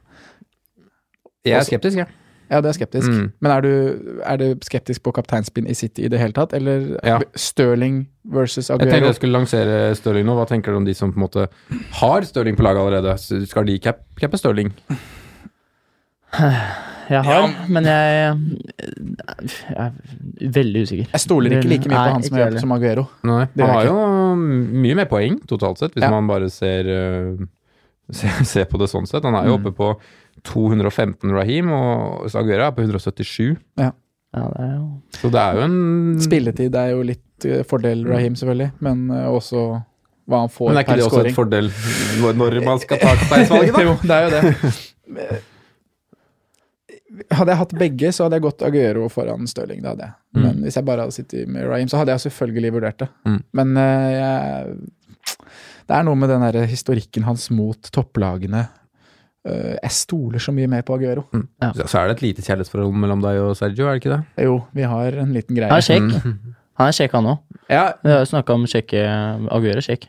Jeg er skeptisk, jeg. ja, det er skeptisk. Mm. Men er du, er du skeptisk på kapteinspinn i City i det hele tatt, eller Ja. Stirling versus Jeg tenkte Aguero? jeg skulle lansere Stirling nå. Hva tenker du om de som på en måte har Stirling på laget allerede? S- Skal de cap- cappe Stirling? Jeg har, men jeg, jeg er veldig usikker. Jeg stoler ikke like mye Nei, på han ikke som, heller. som Aguero. Nei, Det han gjør har jeg jo mye mer poeng totalt sett, hvis Ja. man bare ser, øh, se- ser på det sånn sett. Han er Mm. jo oppe på 215 Raheem, og Aguera er på 177. Ja, det er jo Så det er jo en Mm. Spilletid er jo litt eh, fordel Raheem, selvfølgelig, men eh, også hva han får Mm. Men er ikke per det også scoring. et fordel når- når man skal ta kapteinsvalget, da? jo, det er jo det. Hadde jeg hatt begge, så hadde jeg gått Aguero foran Stirling. Det hadde jeg. Men hvis jeg bare hadde sittet med Raheem, så hadde jeg selvfølgelig vurdert det. Mm. Men eh, jeg, det er noe med den der historikken hans mot topplagene. Eh, jeg stoler så mye mer på Aguero. Så- Så er det et lite kjærlighetsforhold mellom deg og Sergio, er det ikke det? Jo, vi har en liten greie. Han er kjekk. Mm. Han er kjekk, han òg. Ja, Vi har jo snakka om kjekke Aguero er kjekk.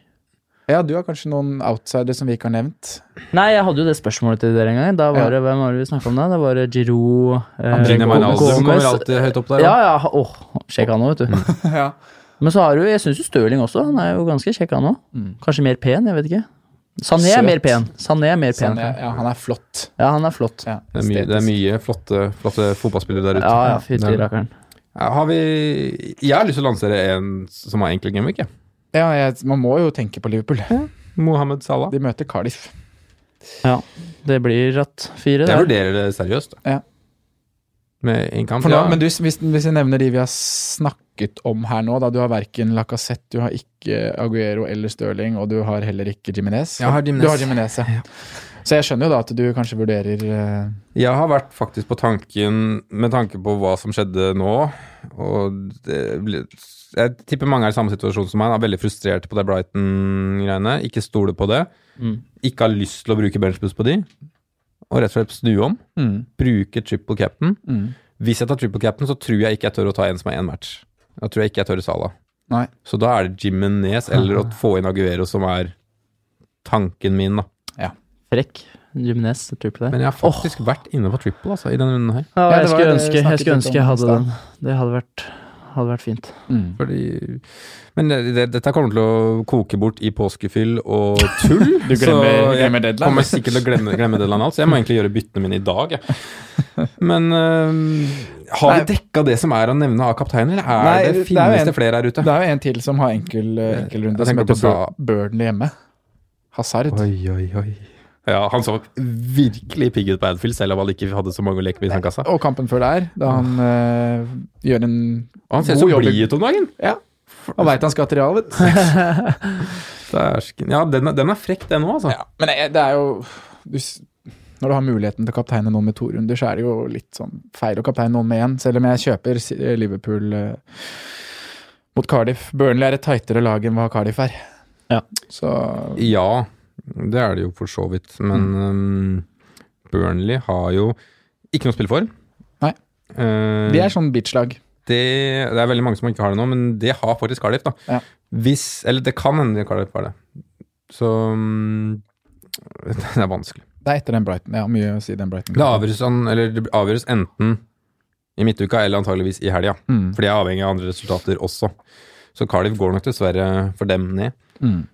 ja, du har kanskje noen outsidere som vi ikke har nevnt. Nei, jeg hadde jo det spørsmålet til dere en gang. Da var Ja. det, Hvem var det vi snakka om da? Da var det Giroud eh, Gina Wijnaldum Gomez. kommer alltid høyt opp der. Ja, da. ja. ha- Åh, sjekk han òg, vet du. ja. Men så har du Jeg syns jo Stirling også. Han er jo ganske kjekk, han òg. Kanskje mer pen, jeg vet ikke. Sané er Mm. Søt. mer pen. Sané er mer pen. Sånn, ja, ja, han er flott. Ja, han er flott. Ja, Det er mye, det er mye flotte, flotte fotballspillere der ute. Ja, ja, fytti Det er- rakkeren. Ja, Har vi Jeg har lyst til å lansere en som har enkel gameweek, jeg. Ja, jeg, man må jo tenke på Liverpool. Mohammed Salah. De møter Cardiff. Ja, det blir ratt fire Jeg der. vurderer det seriøst. da. Ja. Med en kamp, For nå, ja. Men du, hvis, hvis jeg nevner de vi har snakket om her nå, da du har verken Lacassette, du har ikke Aguero eller Stirling, og du har heller ikke Jiminez. Jeg har Jimenez. Du har Jimenez, ja. Så jeg skjønner jo da at du kanskje vurderer eh, Jeg har vært faktisk på tanken, med tanke på hva som skjedde nå, og det ble, Jeg tipper mange er i samme situasjon som meg, er veldig frustrerte på det Brighton-greiene. Ikke stoler på det. Mm. Ikke har lyst til å bruke benchboost på de. Og rett og slett snu om. Bruke triple cap'n. mm. Hvis jeg tar triple cap'n, så tror jeg ikke jeg tør å ta en som er én match. Da tror jeg ikke jeg tør Salah. Nei. Så da er det Jimenez eller å få inn Aguero som er tanken min, da. Frekk. Jimenez, jeg tror på det. Men jeg har faktisk vært inne på triple altså, i denne runden her. Ja, Ja, det jeg, var skulle det vi ønske, jeg skulle snakket litt om ønske jeg i hadde stad. den. Det hadde vært, hadde vært fint. Mm. Fordi, men det, det, dette kommer til å koke bort i påskefyll og tull. Du glemmer- så jeg glemmer deadline. kommer sikkert til å glemme, glemme deadline alt, så jeg må egentlig gjøre byttene mine i dag. Jeg. Men øhm, har vi dekka det som er å nevne av kapteiner? Er Nei, det, det er jo finnes en- det flere her ute? Det er jo en til som har enkel, eh, enkelrunde, Jeg som tenker heter på Sa- Bur- Burnley hjemme. Hazard. Oi, oi, oi. Ja, han så virkelig pigg ut på Adfield, selv om han ikke hadde så mange å leke med i sandkassa. Og kampen før der, da han eh, gjør en Og han ser God så jobb. blid ut om dagen! Ja. Han veit han skal til Real, vet du. Dæsken. Ja, den er, den er frekk, den òg, altså. Ja, men det er- det er jo du, s- Når du har muligheten til å kapteine noen med to runder, så er det jo litt sånn feil å kapteine noen med én, selv om jeg kjøper S- Liverpool eh, mot Cardiff. Burnley er et tightere lag enn hva Cardiff er. Ja. Så Ja, det er det jo for så vidt. Men Mm. øhm, Burnley har jo ikke noe å spille for. Nei. Eh, de er sånn bitch-lag. det, det er veldig mange som ikke har det nå, men det har faktisk Cardiff. da. Ja. Hvis, eller det kan hende Cardiff har det. Så mm, det er vanskelig. Det er etter den Brighton. Jeg har mye å si den Brighton. Det avgjøres, an- eller det avgjøres enten i midtuka eller antageligvis i helga. Mm. For de er avhengig av andre resultater også. Så Cardiff går nok dessverre for dem ned. Mm.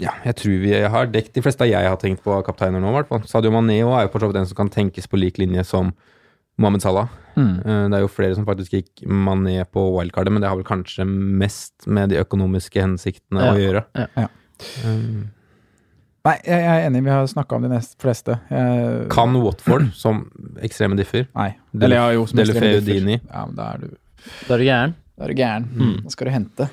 Ja, jeg tror vi har dekket de fleste av jeg har tenkt på av kapteiner nå, i hvert fall. Sadio Mané også er jo for så vidt en som kan tenkes på lik linje som Mohammed Salah. Mm. Eh, Det er jo flere som faktisk gikk Mané på wildcardet, men det har vel kanskje mest med de økonomiske hensiktene å gjøre. ja, ja. Eh, Nei, jeg jeg er enig, vi har snakka om de nest fleste. Jeg, Kan Watford, som ekstreme differ, Nei. Del- Eller ja, jo, som Delefeu ekstreme differ. Dini. Ja, men da er du, Da er du gæren. da er du gæren. Da skal du hente.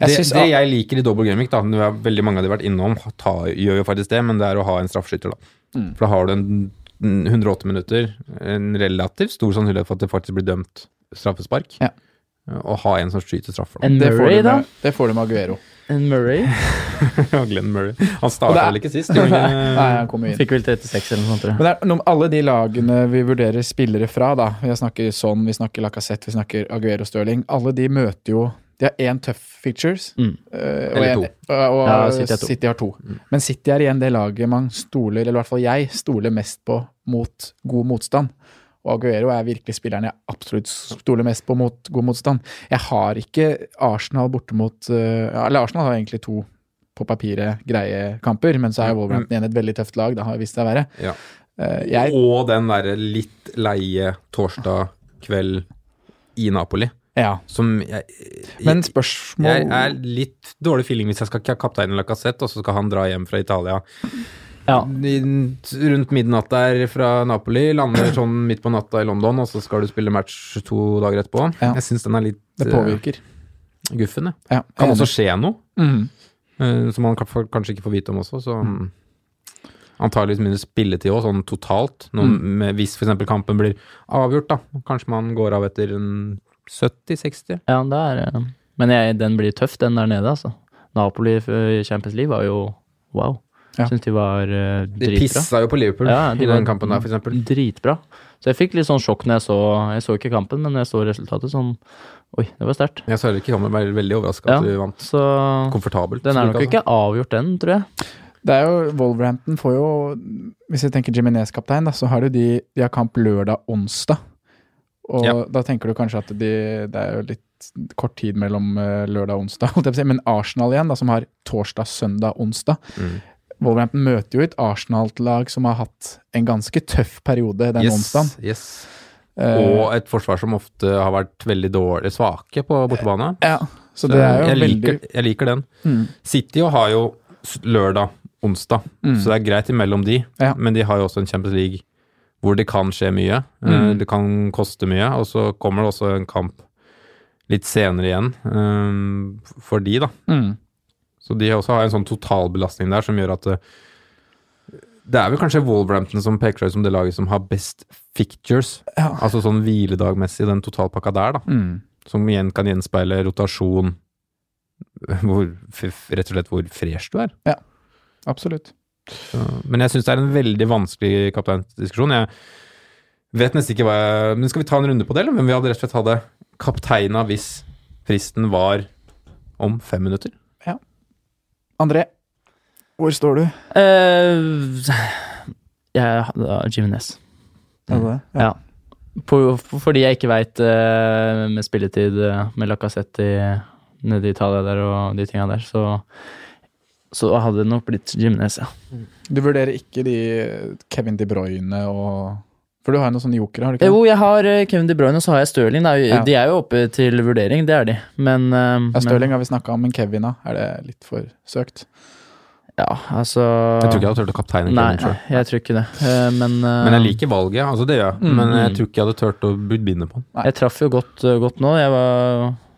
Jeg det, synes- det jeg liker i double gaming, da, nå er veldig mange av de har vært innom, ta, gjør jo faktisk det, men det er å ha en straffeskytter, da. Mm. For da har du en en 108 minutter, en relativt stor sannsynlighet for at det faktisk blir dømt straffespark, Ja. og ha en som skyter straffer. da. En det får Murray, du da? med- Det får du med Aguero. En Murray Ja, Glenn Murray. Han Og det starta er- vel ikke sist? gjorde han ikke? Nei, han kommer inn. fikk vel 36 eller noe sånt, tror jeg. Men det er noe med alle de lagene vi vurderer spillere fra, da. Vi snakker Son, vi snakker Lacassette, vi snakker Aguero Stirling. Alle de møter jo De har én tøff features. Mm. eh, og Eller en- to. Og, og Ja, City, City har har to. to. Mm. Men City er igjen det laget man stoler, eller i hvert fall jeg, stoler mest på mot god motstand. Og Aguero er virkelig spilleren jeg absolutt stoler mest på mot god motstand. Jeg har ikke Arsenal borte mot eh, ja, Eller Arsenal har egentlig to på papiret greie kamper, men så er jo Wolverhampton igjen et veldig tøft lag, det har vist seg å være. Mm, Ja. Eh, jeg Og den derre litt leie torsdag kveld i Napoli, Ja, som jeg, men jeg, spørsmål jeg er litt dårlig feeling hvis jeg skal ha kapteinen Lacassette, og så skal han dra hjem fra Italia Ja. N- rundt midnatt der fra Napoli, lander sånn midt på natta i London, og så skal du spille match to dager etterpå. Ja. Jeg syns den er litt Det påvirker. eh, guffen, jeg. Ja, Kan enig. også skje noe, Mm. eh, som man kan- får- kanskje ikke får vite om også, så mm. Antakeligvis mindre spilletid òg, sånn totalt. Mm. Noen, med, hvis f.eks. kampen blir avgjort, da. Kanskje man går av etter en 70-60. Ja, det er eh, Men jeg, den blir tøff, den der nede, altså. Napoli f- i Champions League var jo wow. Ja. Jeg Syns de var eh, De dritbra. pissa jo på Liverpool Ja, de i var Mm. den kampen der, f.eks. Dritbra. Så jeg fikk litt sånn sjokk når jeg så Jeg så ikke kampen, men når jeg så resultatet, sånn Oi, det var sterkt. Jeg sa heller ikke sammen, var veldig overraska Ja. at du vant Så komfortabelt. altså. den er nok ikke avgjort, den, tror jeg. Det er jo Wolverhampton får jo Hvis jeg tenker Jiminez-kaptein, da, så har du de De har kamp lørdag, onsdag. Og Ja. da tenker du kanskje at de Det er jo litt kort tid mellom eh, lørdag og onsdag, holdt jeg på å si. Men Arsenal igjen, da, som har torsdag, søndag, onsdag. Mm. Wolverhampton møter jo et Arsenal-lag som har hatt en ganske tøff periode den onsdagen. yes, yes. Eh. Og et forsvar som ofte har vært veldig dårlig svake på bortebane. Eh, ja, så det er jo jeg, veldig liker, jeg liker den. Mm. City jo har jo s- lørdag, onsdag, Mm. så det er greit imellom de. Ja. Men de har jo også en Champions League hvor det kan skje mye. Eh, Mm. Det kan koste mye, og så kommer det også en kamp litt senere igjen eh, for de, da. Mm. Så de også har en sånn totalbelastning der som gjør at det, det er vel kanskje Wolverhampton som peker seg ut som det laget som har best fictures, Ja. altså sånn hviledagmessig, den totalpakka der, da. Mm. Som igjen kan gjenspeile rotasjon, hvor, f- f- rett og slett hvor fresh du er. Absolutt. Så, men jeg syns det er en veldig vanskelig kapteinsdiskusjon. Jeg vet nesten ikke hva jeg Men skal vi ta en runde på det, eller? Men vi hadde rett og slett hadde kapteina hvis fristen var om fem minutter. André, Mm. Hvor står du? Eh, jeg har Jimenez. Er det det? Ja. Ja. På, for- fordi jeg ikke veit med spilletid eh, med Lacassette i- nede i Italia der og de tinga der, så, så hadde det nok blitt Jimenez, ja. Du vurderer ikke de Kevin De Bruyne og For du har jo noen sånne jokere, har du ikke? Jo, jeg har eh, Kevin De Bruyne og så har jeg Stirling. Da. Ja. De er jo oppe til vurdering, det er de. Men, eh, Ja, men Stirling har vi snakka om, men Kevin, da? Er det litt for søkt? ja, altså Jeg tror ikke jeg hadde turt å kapteine Nei, Kevin selv. jeg tror ikke det. Eh, Men, eh, Men jeg liker valget, altså det gjør jeg. Um, Mm. Men jeg tror ikke jeg hadde turt å budbinde på den. Jeg traff jo godt, eh, godt nå. Jeg var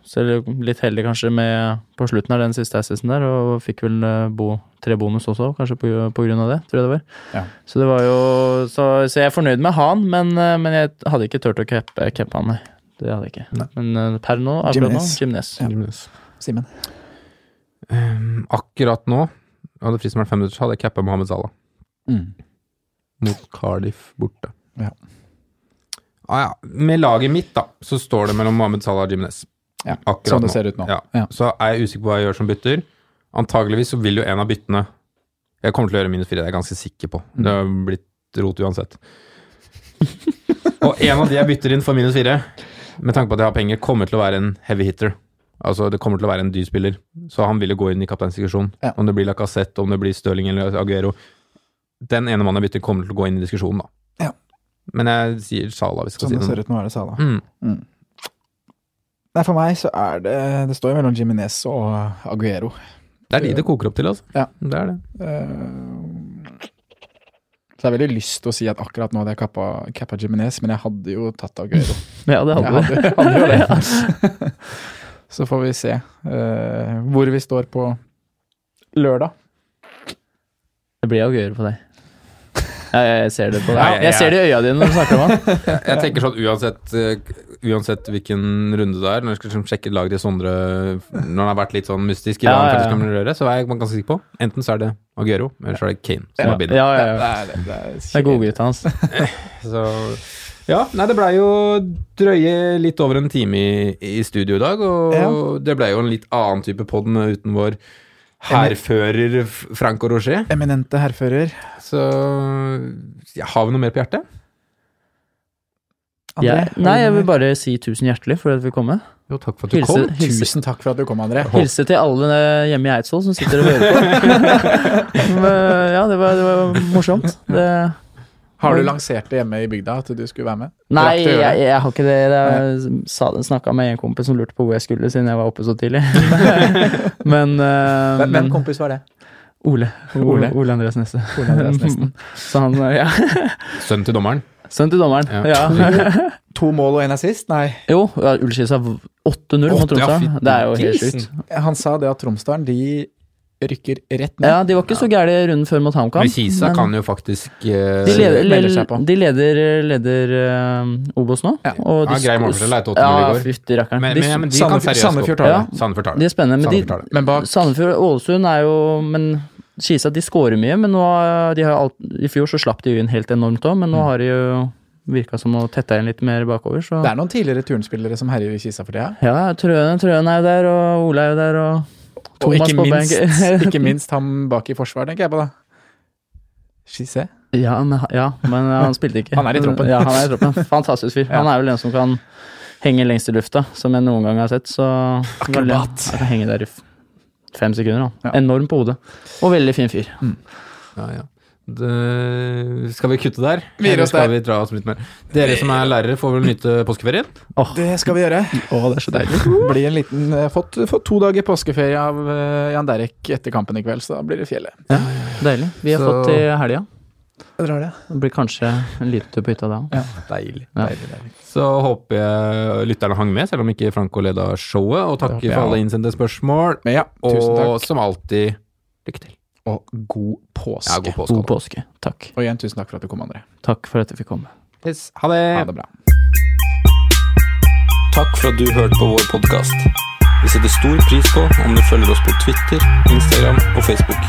selv litt heldig kanskje med på slutten av den siste assisten der, og fikk vel eh, bo, tre bonus også, kanskje på, på grunn av det, tror jeg det var. Ja. Så det var jo Så, så jeg er fornøyd med han, men, eh, men jeg hadde ikke turt å cappe cappe han, nei. Det hadde jeg ikke. Men eh, per nå, akkurat nå, Jimenez. Gymnes. Simen? Um, akkurat nå, hadde fristen vært fem minutter, så hadde jeg cappa Mohammed Salah mot Cardiff borte. Ja. Ah, ja. Med laget mitt, da, så står det mellom Mohammed Salah og Jimenez. Ja, Akkurat sånn det nå. ser ut nå. Ja. Ja. Så er jeg usikker på hva jeg gjør som bytter. Antageligvis så vil jo en av byttene Jeg kommer til å gjøre minus fire, det er jeg ganske sikker på. Mm. Det har blitt rot uansett. og en av de jeg bytter inn for minus fire, med tanke på at jeg har penger, kommer til å være en heavy hitter. Altså, det kommer til å være en dyr spiller. Så han vil jo gå inn i kapteinsdiskusjonen. Ja. Om det blir Lacassette, om det blir Stirling eller Aguero. Den ene mannen jeg bytter, kommer til å gå inn i diskusjonen, da. Ja. Men jeg sier Salah, hvis jeg skal Sånn det si ser det. ut nå, er det Sala. Mm. Nei, for meg så er det Det står jo mellom Jiminez og eh, Aguero. Det er de det koker opp til, altså. Ja. Det er det. Eh, så jeg har veldig lyst til å si at akkurat nå hadde jeg kappa, kappa Jiminez, men jeg hadde jo tatt Aguero. Ja, det Jeg hadde du. hadde, hadde jo det. så får vi se eh, hvor vi står på lørdag. Det blir Aguero på deg. Ja, jeg, jeg ser det på deg. Ja, ja, ja. Jeg ser det i øya dine når du snakker om han. Jeg tenker sånn uansett, eh, uansett hvilken runde det er, når jeg skal liksom sjekke laget til Sondre når han har vært litt sånn mystisk, i hva Ja, han ja, faktisk ja. kan røre, så er jeg ganske sikker på. Enten så er det Aguero, eller så er det Kane som er binder. Ja, ja, ja. Det er, det er, Det er godgutta hans. Så ja, nei, det blei jo drøye litt over en time i, i studio i dag, og Ja. det blei jo en litt annen type pod uten vår hærfører F- Franco Roger. Eminente herrfører. Så ja, har vi noe mer på hjertet? André, Jeg, har du nei, jeg noe vil bare si tusen hjertelig for at vi kom. Jo, takk for at du Hilse, kom. hilse, Tusen takk for at du kom, André. Hilse til alle eh, hjemme i Eidsvoll som sitter og hører på. Men, eh, ja, det var, det var morsomt. Det, Har du lansert det hjemme i bygda at du skulle være med? nei, Rakk du å jeg, gjøre det? jeg har ikke det. Jeg snakka med en kompis som lurte på hvor jeg skulle siden jeg var oppe så tidlig. Men, eh, Hvem- Hvem men kompis var det? Ole. Ole, Ole. Ole Andreas Nesse. Ole Andreas Nesten. Så han eh, ja. Sønnen til dommeren. Sønn til dommeren. Ja. Ja. To mål og én assist? Nei. Jo, ja, Ullskisa 8-0 mot Åtte, ja, Tromsø. fytti Det er jo helt grisen. sjukt. Han sa det at Tromsdalen de rykker rett ned. Ja, de var ikke så gærne i runden før mot HamKam. Men Kisa men- kan jo faktisk De eh, leder, melder seg på. de leder, leder eh, Obos nå. Ja. og Ja, grei målforskjell er et åttende Ja, i går. fytti rakkeren. Men, De, men, men de Sandefjord- kan seriøst Sandefjord tar gå. det. Ja, Sandefjord tar de det. er spennende. Men Sandefjord tar de, det. Men bak Sandefjord og Ålesund er jo Men Kisa, de scorer mye, men nå har- de har jo alt, I fjor så slapp de jo inn helt enormt òg, Mm. men nå har de jo virka som å tette inn litt mer bakover, så Det er noen tidligere turnspillere som herjer i Kisa for tida. Ja, Trøen, Trøen er jo der, og Ole er jo der, og Og Thomas ikke på minst, benk. ikke minst ham bak i forsvaret, tenker jeg på da. Skisse. Ja, men, ja, men han spilte ikke. Han er i troppen. Ja, han er i troppen. Fantastisk fyr. Han er vel den som kan henge lengst i lufta, som jeg noen gang har sett. Så veldig- Han kan henge der i f- fem sekunder. Da. Ja. Enorm på hodet. Og veldig fin fyr. Ja, ja. Det, skal vi kutte der? Vi gir Eller oss skal der. vi dra oss litt mer? Dere som er lærere, får vel nyte påskeferien? Det skal vi gjøre. Mm. Å, det er så deilig. Blir en liten, eh, fått, fått to dager påskeferie av eh, Jan Derek etter kampen i kveld, så da blir det fjellet. Deilig. Vi har Så- fått til helga. Jeg drar det. Det blir kanskje en liten tur på hytta da òg. Deilig. Ja. Deilig, deilig. Så håper jeg lytterne hang med, selv om ikke Franco leda showet. Og takk Det håper jeg for alle også. innsendte spørsmål. Men ja, tusen Og takk, som alltid, lykke til. og god påske. Ja, god påske. God påske. Takk. Og igjen, tusen takk for at du kom, André. Takk for at jeg fikk komme. Peace. Ha det. Ha det bra. Takk for at du hørte på vår podkast. Vi setter stor pris på om du følger oss på Twitter, Instagram og Facebook.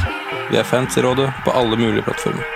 Vi er fans i rådet på alle mulige plattformer.